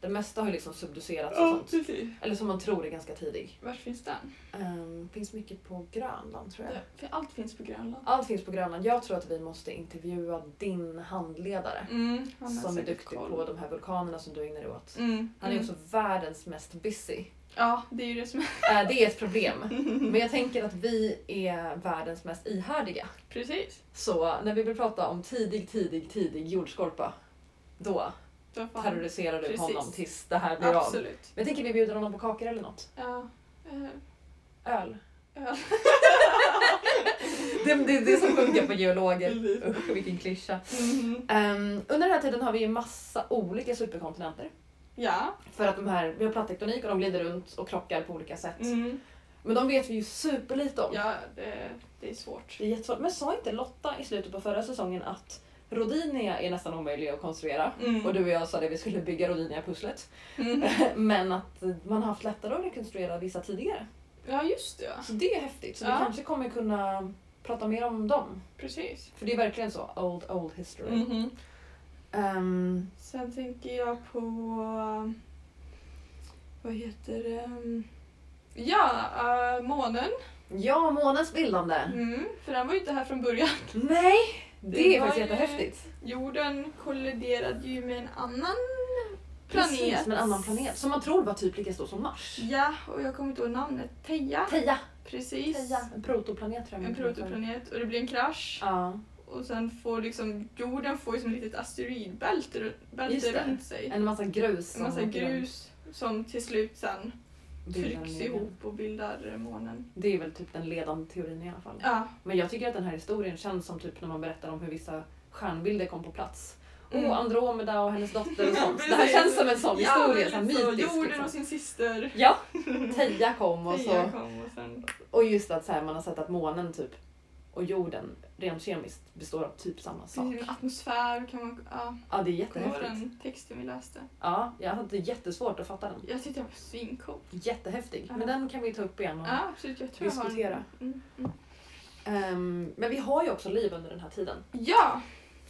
Speaker 1: Det mesta har ju liksom subducerats och
Speaker 2: Ja,
Speaker 1: sånt.
Speaker 2: precis.
Speaker 1: Eller som man tror är ganska tidig.
Speaker 2: Var finns den?
Speaker 1: Um, finns mycket på Grönland tror jag.
Speaker 2: Det- för Allt finns på Grönland.
Speaker 1: Allt finns på Grönland. Jag tror att vi måste intervjua din handledare.
Speaker 2: Mm, han har
Speaker 1: Som är
Speaker 2: säkert
Speaker 1: duktig
Speaker 2: koll.
Speaker 1: på de här vulkanerna som du ägnar dig åt.
Speaker 2: Mm.
Speaker 1: Han är
Speaker 2: mm.
Speaker 1: också världens mest busy.
Speaker 2: Ja, det är ju det som är...
Speaker 1: Eh, det är ett problem. Men jag tänker att vi är världens mest ihärdiga.
Speaker 2: Precis.
Speaker 1: Så när vi vill prata om tidig, tidig, tidig jordskorpa, då
Speaker 2: Då får han-
Speaker 1: terroriserar du
Speaker 2: Precis.
Speaker 1: honom tills det här blir av.
Speaker 2: Absolut.
Speaker 1: Men jag tänker vi bjuder honom på kakor eller något.
Speaker 2: Ja. eh,
Speaker 1: Öl.
Speaker 2: Öl.
Speaker 1: det, det är det som funkar på geologer.
Speaker 2: Precis.
Speaker 1: Usch, vilken klyscha.
Speaker 2: mhm.
Speaker 1: Ehm, under den här tiden har vi ju massa olika superkontinenter.
Speaker 2: Ja.
Speaker 1: För att de här, vi har plattektonik och de glider runt och krockar på olika sätt.
Speaker 2: Mm.
Speaker 1: Men de vet vi ju superlite om.
Speaker 2: Ja, det, det är svårt.
Speaker 1: Det är jättesvårt. Men sa inte Lotta i slutet på förra säsongen att Rodinia är nästan omöjlig att konstruera?
Speaker 2: Mm.
Speaker 1: Och du och jag sa det, vi skulle bygga Rodinia-pusslet.
Speaker 2: Mm.
Speaker 1: Men att man har haft lättare att rekonstruera vissa tidigare.
Speaker 2: Ja, just det. ja.
Speaker 1: Så det är häftigt. Så
Speaker 2: Ah. Ja.
Speaker 1: vi kanske kommer kunna prata mer om dem.
Speaker 2: Precis.
Speaker 1: För det är verkligen så old, old history.
Speaker 2: Mhm.
Speaker 1: Ehm,
Speaker 2: Sen tänker jag på... um, Vad heter det? um, Ja, uh, månen.
Speaker 1: ja, månens bildande.
Speaker 2: Mm, för den var ju inte här från början.
Speaker 1: Nej! Det,
Speaker 2: Det
Speaker 1: är
Speaker 2: var
Speaker 1: faktiskt
Speaker 2: ju-
Speaker 1: jättehäftigt.
Speaker 2: Jorden kolliderade ju med en annan planet.
Speaker 1: Precis, med en annan planet som man tror var typ lika stor som Mars.
Speaker 2: Ja, och jag kommer inte ihåg namnet. Theia.
Speaker 1: Teja!
Speaker 2: Precis.
Speaker 1: En protoplanet tror jag.
Speaker 2: En protoplanet och det blir en krasch.
Speaker 1: Ja.
Speaker 2: Och sen får liksom jorden får ju som ett litet asteroidbälte ru-
Speaker 1: Just
Speaker 2: bälte
Speaker 1: det.
Speaker 2: runt sig.
Speaker 1: En massa grus.
Speaker 2: En massa
Speaker 1: åker runt.
Speaker 2: grus som till slut sen
Speaker 1: Bildar en
Speaker 2: trycks
Speaker 1: egen.
Speaker 2: ihop och bildar månen.
Speaker 1: Det är väl typ den ledande teorin i alla fall.
Speaker 2: Ja.
Speaker 1: Men jag tycker att den här historien känns som typ när man berättar om hur vissa stjärnbilder kom på plats.
Speaker 2: Mm.
Speaker 1: Oh, Andromeda och hennes dotter och sånt. det här
Speaker 2: Precis.
Speaker 1: känns som en sån historia,
Speaker 2: Ja,
Speaker 1: så här
Speaker 2: men lite så.
Speaker 1: mytisk.
Speaker 2: Jorden
Speaker 1: liksom.
Speaker 2: och sin syster.
Speaker 1: Ja, Teja kom och så.
Speaker 2: Teia kom och sen...
Speaker 1: Och just att så här, man har sett att månen typ och jorden rent kemiskt består av typ samma sak.
Speaker 2: Precis, en atmosfär kan man... Ja,
Speaker 1: Ja, det är
Speaker 2: kommer du ihåg
Speaker 1: jättehäftigt.
Speaker 2: den texten vi läste?
Speaker 1: Ja, jag hade jättesvårt att fatta den.
Speaker 2: Jag tyckte den var svincool.
Speaker 1: Jättehäftig.
Speaker 2: Ja.
Speaker 1: Men den kan vi ta upp igen. Och...
Speaker 2: Ja, absolut. Jag tror jag har
Speaker 1: Diskutera.
Speaker 2: den. Mm, mm.
Speaker 1: Ehm, men vi har ju också liv under den här tiden.
Speaker 2: Ja!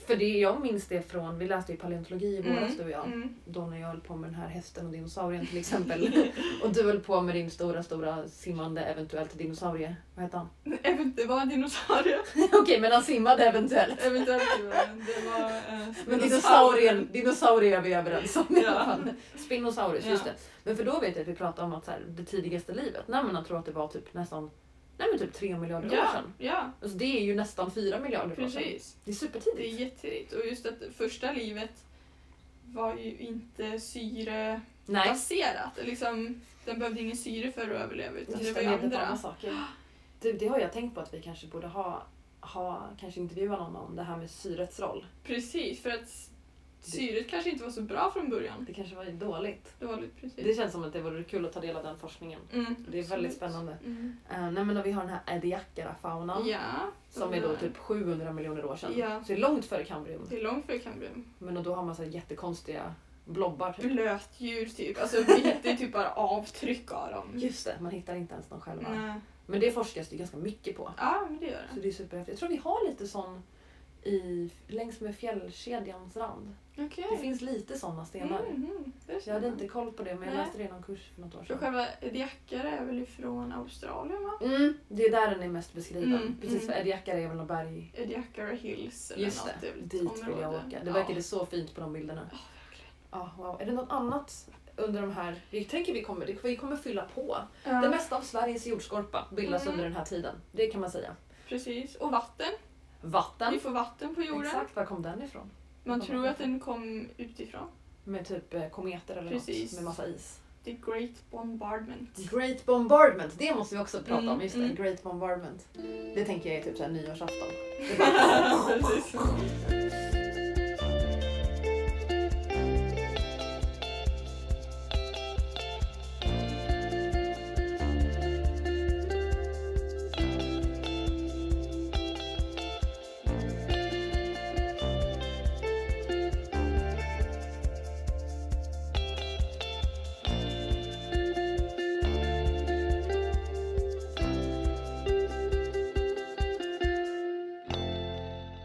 Speaker 1: För det jag minns det från, vi läste ju paleontologi i våras du och jag.
Speaker 2: Mm.
Speaker 1: Då när jag höll på med den här hästen och dinosaurien till exempel. och du höll på med din stora, stora simmande eventuellt dinosaurie. Vad hette han?
Speaker 2: Även- Det var en dinosaurie.
Speaker 1: Okej, men han simmade eventuellt.
Speaker 2: Eventuellt det var en- det var... eh,
Speaker 1: Men dinosaurien, dinosaurier är vi överens om i alla fall. Spinosaurus, just
Speaker 2: Ja.
Speaker 1: det. Men för då vet jag att vi pratade om att så här, det tidigaste livet, när man tror att det var typ nästan nej men typ 3 miljarder år
Speaker 2: Ja,
Speaker 1: sedan.
Speaker 2: ja,
Speaker 1: Alltså det är ju nästan 4 miljarder år sedan.
Speaker 2: precis.
Speaker 1: Det är
Speaker 2: Det är
Speaker 1: supertidigt.
Speaker 2: jätteligt. Och just att första livet var ju inte syrebaserat.
Speaker 1: Nej.
Speaker 2: Liksom, den behövde ingen syre för att överleva utan
Speaker 1: Just
Speaker 2: det var
Speaker 1: det,
Speaker 2: ju
Speaker 1: leder på andra
Speaker 2: andra.
Speaker 1: saker. Du, det har jag tänkt på att vi kanske borde ha, ha kanske intervjua någon om det här med syrets roll.
Speaker 2: Precis, för att Syret kanske inte var så bra från början.
Speaker 1: Det kanske var dåligt.
Speaker 2: Det var lite precis.
Speaker 1: Det känns som att det vore kul att ta del av den forskningen.
Speaker 2: Mm.
Speaker 1: Det är väldigt
Speaker 2: Absolut.
Speaker 1: spännande.
Speaker 2: Mm.
Speaker 1: Eh, nej, men då vi har den här Ediacara-faunan
Speaker 2: Ja.
Speaker 1: som är då typ 700 miljoner år sedan.
Speaker 2: Ja.
Speaker 1: Så det är långt före kambrium.
Speaker 2: Det är långt före kambrium.
Speaker 1: Men då har man så här jättekonstiga blobbar typ.
Speaker 2: Blötdjur typ. Alltså vi hittar typ bara avtryck av dem.
Speaker 1: Just det, man hittar inte ens dem själva.
Speaker 2: Nej.
Speaker 1: Men det forskas det ganska mycket på.
Speaker 2: Ja men det gör
Speaker 1: Så
Speaker 2: det.
Speaker 1: det är superhäftigt. Jag tror vi har lite sån i, längs med fjällkedjans rand. Det
Speaker 2: Okej.
Speaker 1: finns lite sådana stenar.
Speaker 2: Mhm, det
Speaker 1: Jag
Speaker 2: är
Speaker 1: hade
Speaker 2: spännande.
Speaker 1: inte koll på det men jag
Speaker 2: Nej.
Speaker 1: läste det i någon kurs för något år
Speaker 2: För
Speaker 1: sedan.
Speaker 2: själva Ediacara är väl ifrån Australien va?
Speaker 1: Mm, det är där den är mest beskriven.
Speaker 2: Mm,
Speaker 1: Precis för
Speaker 2: mm.
Speaker 1: Ediacara är väl något berg.
Speaker 2: Ediacara Hills eller
Speaker 1: Just
Speaker 2: något. typ,
Speaker 1: det,
Speaker 2: väl ett
Speaker 1: dit vill jag
Speaker 2: område.
Speaker 1: åka. Det
Speaker 2: Ja.
Speaker 1: verkade så fint på de bilderna.
Speaker 2: Ja, verkligen.
Speaker 1: Ja, wow. Är det något annat under de här... Vi tänker vi kommer, vi kommer fylla på.
Speaker 2: Ja,
Speaker 1: Det mesta av Sveriges jordskorpa bildas
Speaker 2: Mm.
Speaker 1: under den här tiden. Det kan man säga.
Speaker 2: Precis. Och vatten. Vi
Speaker 1: Vatten.
Speaker 2: får vatten på jorden.
Speaker 1: Exakt, var kom den ifrån?
Speaker 2: Man tror att den kom utifrån.
Speaker 1: Med typ eh, kometer eller
Speaker 2: Precis.
Speaker 1: något med massa is.
Speaker 2: The Great Bombardment.
Speaker 1: Great bombardment, det måste vi också prata om.
Speaker 2: Mm,
Speaker 1: Just det,
Speaker 2: mm.
Speaker 1: great bombardment. Det tänker jag är typ såhär nyårsafton.
Speaker 2: Precis.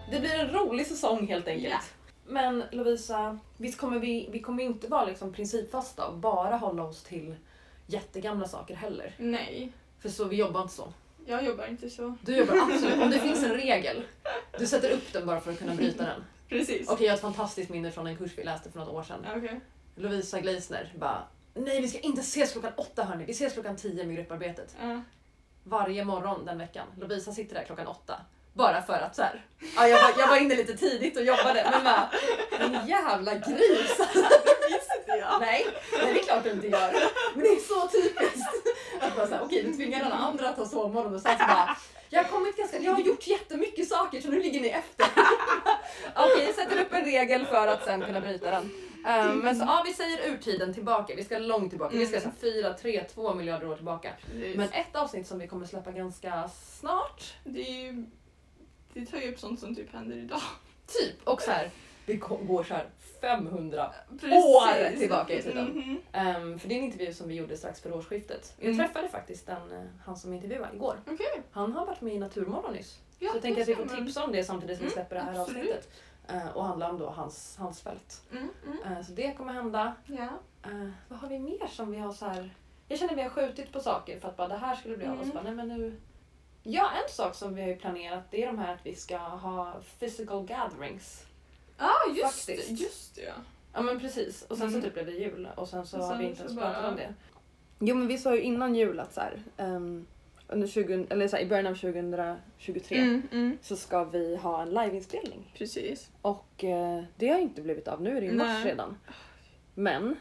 Speaker 1: Det blir en rolig säsong helt enkelt.
Speaker 2: Ja.
Speaker 1: Men Lovisa, visst kommer vi, vi kommer inte vara liksom principfasta och bara hålla oss till jättegamla saker heller.
Speaker 2: Nej,
Speaker 1: För så, vi jobbar inte så.
Speaker 2: jag jobbar inte så.
Speaker 1: Du jobbar absolut, om det finns en regel, du sätter upp den bara för att kunna bryta den.
Speaker 2: Precis.
Speaker 1: Okej, jag har ett fantastiskt minne från en kurs vi läste för något år sedan.
Speaker 2: Ja, okej.
Speaker 1: Lovisa Gleisner bara Nej vi ska inte ses klockan åtta hörni, vi ses klockan tio med grupparbetet.
Speaker 2: Ja.
Speaker 1: Varje morgon den veckan. Lovisa sitter där klockan åtta. Bara för att så här. Ja, jag, var, jag var inne lite tidigt och jobbade men bara, en jävla gris! Nej, nej det är klart du inte gör. Men det är så typiskt. Att bara så här, okej du tvingar alla andra att ta sovmorgon och sen så bara jag har, kommit ganska, jag har gjort jättemycket saker så nu ligger ni efter. Okej, jag sätter upp en regel för att sen kunna bryta den. Eh, men så, ja, vi säger urtiden tillbaka, vi ska långt tillbaka, vi ska så här, 4, 3, 2 miljarder år tillbaka.
Speaker 2: Precis.
Speaker 1: Men ett avsnitt som vi kommer släppa ganska snart,
Speaker 2: Det, är ju, det tar ju upp sånt som typ händer idag.
Speaker 1: typ, och så här, vi ko- går så här 500
Speaker 2: Precis.
Speaker 1: år tillbaka i tiden.
Speaker 2: Mhm.
Speaker 1: Ehm, för det är en intervju som vi gjorde strax före årsskiftet. Jag
Speaker 2: Mm.
Speaker 1: träffade faktiskt den, eh, han som intervjuade igår.
Speaker 2: Okej.
Speaker 1: Han har varit med i Naturmorgon nyss.
Speaker 2: Ja,
Speaker 1: så jag tänker
Speaker 2: det
Speaker 1: att vi får
Speaker 2: stämmer.
Speaker 1: tipsa om det samtidigt som vi
Speaker 2: Mm,
Speaker 1: släpper det här
Speaker 2: absolut.
Speaker 1: avsnittet. Eh, och handlar om då hans, hans fält.
Speaker 2: Mm, mm.
Speaker 1: Eh, så det kommer hända.
Speaker 2: Ja.
Speaker 1: Eh, vad har vi mer som vi har så här... Jag känner att vi har skjutit på saker för att bara det här skulle bli av och så
Speaker 2: Mm.
Speaker 1: bara, nej men nu... Ja, en sak som vi har ju planerat det är de här att vi ska ha physical gatherings.
Speaker 2: Ah, just det.
Speaker 1: Faktiskt.
Speaker 2: Just det, ja.
Speaker 1: Ja men precis. Och sen
Speaker 2: Mm.
Speaker 1: så typ blev det jul och sen så
Speaker 2: Och
Speaker 1: har vi
Speaker 2: sen
Speaker 1: inte
Speaker 2: så
Speaker 1: ens
Speaker 2: bara-
Speaker 1: pratat om det.
Speaker 7: Jo men vi sa ju innan jul att så här, ehm, under 20, eller så här, i början av 2023
Speaker 2: Mm, mm.
Speaker 7: så ska vi ha en liveinspelning.
Speaker 2: Precis.
Speaker 7: Och eh, det har inte blivit av. Nu är det ju mars
Speaker 2: Nej.
Speaker 7: redan. Men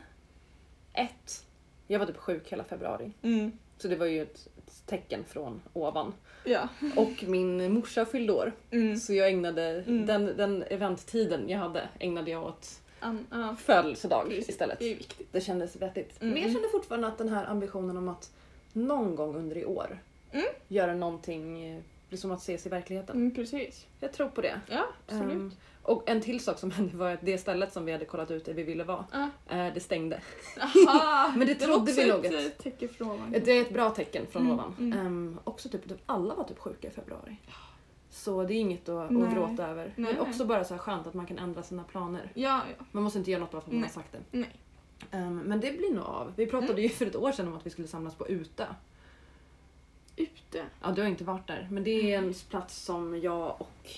Speaker 7: ett, jag var typ sjuk hela februari.
Speaker 2: Mm.
Speaker 7: Så det var ju ett, ett tecken från ovan.
Speaker 2: Ja.
Speaker 7: Och min morsa fyllde år.
Speaker 2: Mm.
Speaker 7: Så jag ägnade
Speaker 2: Mm.
Speaker 7: den, den eventtiden jag hade ägnade jag åt
Speaker 2: An, ja.
Speaker 7: födelsedag
Speaker 2: Precis.
Speaker 7: istället.
Speaker 2: Det Ah, är viktigt.
Speaker 7: Det kändes vettigt.
Speaker 2: Mm.
Speaker 7: Men jag kände fortfarande att den här ambitionen om att någon gång under i år
Speaker 2: Mm.
Speaker 7: göra någonting eh, liksom att ses i verkligheten.
Speaker 2: Mm, precis.
Speaker 7: Jag tror på det.
Speaker 2: Ja, absolut.
Speaker 7: Ehm, och en till sak som hände var att det stället som vi hade kollat ut där vi ville vara,
Speaker 2: Ah.
Speaker 7: eh, det stängde.
Speaker 2: Aha,
Speaker 7: Men det trodde vi nog
Speaker 2: Det var också
Speaker 7: att-
Speaker 2: ett eh, tecken från ovan.
Speaker 7: Det är ett bra tecken från
Speaker 2: Mm,
Speaker 7: ovan.
Speaker 2: mm.
Speaker 7: Ehm, också typ att alla var typ sjuka i februari. Så det är inget att,
Speaker 2: Nej.
Speaker 7: att gråta över.
Speaker 2: Nej.
Speaker 7: Men också bara så här skönt att man kan ändra sina planer.
Speaker 2: Ja, ja.
Speaker 7: Man måste inte göra något bara för att man
Speaker 2: Nej.
Speaker 7: har sagt det.
Speaker 2: Nej. Mm.
Speaker 7: Ehm, men det blir nog av. Vi pratade ju för ett år sedan om att vi skulle samlas på Utö.
Speaker 2: Ute.
Speaker 7: Ja, du har inte varit där. Men det
Speaker 2: Mm.
Speaker 7: är en plats som jag och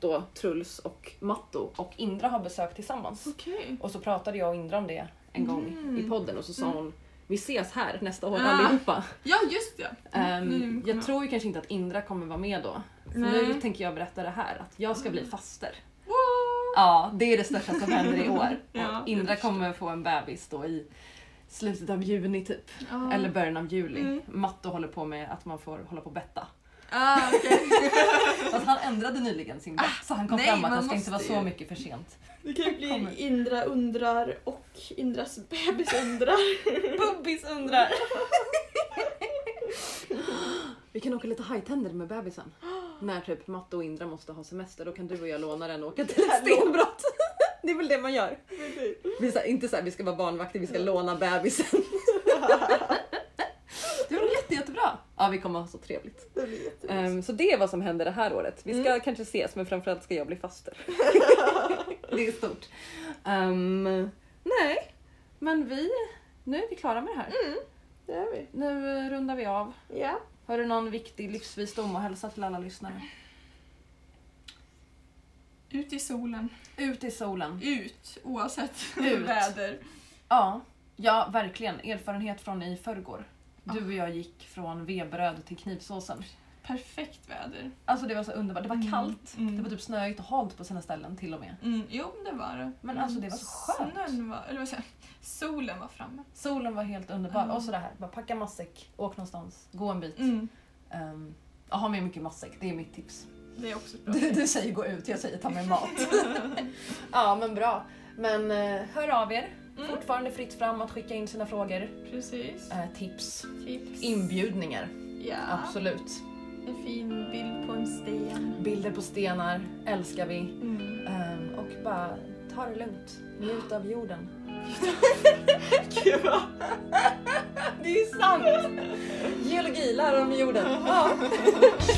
Speaker 7: då Truls och Matto och Indra har besökt tillsammans.
Speaker 2: Okej.
Speaker 7: Och så pratade jag och Indra om det en gång
Speaker 2: Mm.
Speaker 7: i podden och så sa hon vi ses här nästa år
Speaker 2: Ah.
Speaker 7: allihopa.
Speaker 2: Ja, just det.
Speaker 7: Ehm,
Speaker 2: nu kommer
Speaker 7: jag tror ju kanske inte att Indra kommer vara med då. För
Speaker 2: Nej. Mm.
Speaker 7: nu tänker jag berätta det här att jag ska bli faster.
Speaker 2: Wow.
Speaker 7: Ja, det är det största som händer i år.
Speaker 2: Ja,
Speaker 7: och
Speaker 2: jag
Speaker 7: Indra
Speaker 2: förstår.
Speaker 7: kommer få en bebis då i slutet av juni typ.
Speaker 2: Ja.
Speaker 7: Eller början av juli.
Speaker 2: Mm.
Speaker 7: Matto håller på med att man får hålla på och betta.
Speaker 2: Ah, okej.
Speaker 8: Fast han ändrade nyligen sin dag, så han kom
Speaker 2: nej,
Speaker 8: fram att
Speaker 2: man
Speaker 8: han ska inte vara
Speaker 2: måste
Speaker 8: så
Speaker 2: ju.
Speaker 8: mycket för sent.
Speaker 2: Det kan ju bli
Speaker 8: Kommer.
Speaker 2: Indra undrar och Indras bebis undrar.
Speaker 8: Bubbis undrar.
Speaker 1: Vi kan åka lite hajtänder med bebisen. När typ Matte och Indra måste ha semester, då kan du och jag låna den och åka till ett stenbrott. Det är väl det man gör. Vi är så här, inte så här, vi ska vara barnvakter, vi ska låna bebisen.
Speaker 8: Det var jätte, jättebra.
Speaker 1: Ja, vi kommer ha så trevligt.
Speaker 2: Det blir Mm. jätte-
Speaker 1: Ehm, så det är vad som händer det här året. Vi ska kanske ses, men framförallt ska jag bli faster. det är stort. Ehm, nej, men vi, nu är vi klara med det här.
Speaker 2: Mm. Det är vi.
Speaker 1: Nu eh, rundar vi av.
Speaker 2: Ja.
Speaker 1: Har du någon viktig livsvisdom att hälsa till alla lyssnare?
Speaker 2: Ut i solen.
Speaker 1: Ut i solen.
Speaker 2: Ut, oavsett
Speaker 1: Ut.
Speaker 2: väder.
Speaker 1: Ja, ja verkligen. Erfarenhet från i förrgår. Du och jag gick från vebröd till knivsåsen.
Speaker 2: Perfekt väder.
Speaker 1: Alltså det var så underbart. Det var
Speaker 2: Mm,
Speaker 1: kallt.
Speaker 2: mm.
Speaker 1: Det var typ snöigt och halt på sina ställen till och med.
Speaker 2: Mm, jo, det var det. Mm.
Speaker 1: Men alltså, det var så skönt.
Speaker 2: Snön var, eller vad säger jag, solen var framme.
Speaker 1: Solen var helt underbar.
Speaker 2: Mm.
Speaker 1: Och så det här, bara packa matsäck, åk någonstans, gå en bit.
Speaker 2: Mm,
Speaker 1: Ehm, ja, ha med mycket matsäck, det är mitt tips.
Speaker 2: det är också ett bra.
Speaker 1: Du, du säger gå ut, jag säger ta med mat. ja men bra. Men eh, hör av er.
Speaker 2: Mm.
Speaker 1: Fortfarande fritt fram att skicka in sina frågor,
Speaker 2: Precis.
Speaker 1: eh, tips,
Speaker 2: Tips.
Speaker 1: inbjudningar.
Speaker 2: Ja.
Speaker 1: Absolut.
Speaker 2: En fin bild på en sten.
Speaker 1: Bilder på stenar älskar vi.
Speaker 2: Mm.
Speaker 1: Ehm, och bara ta det lugnt. Njut av jorden. det är sant! Geologi, lära om jorden. Ja.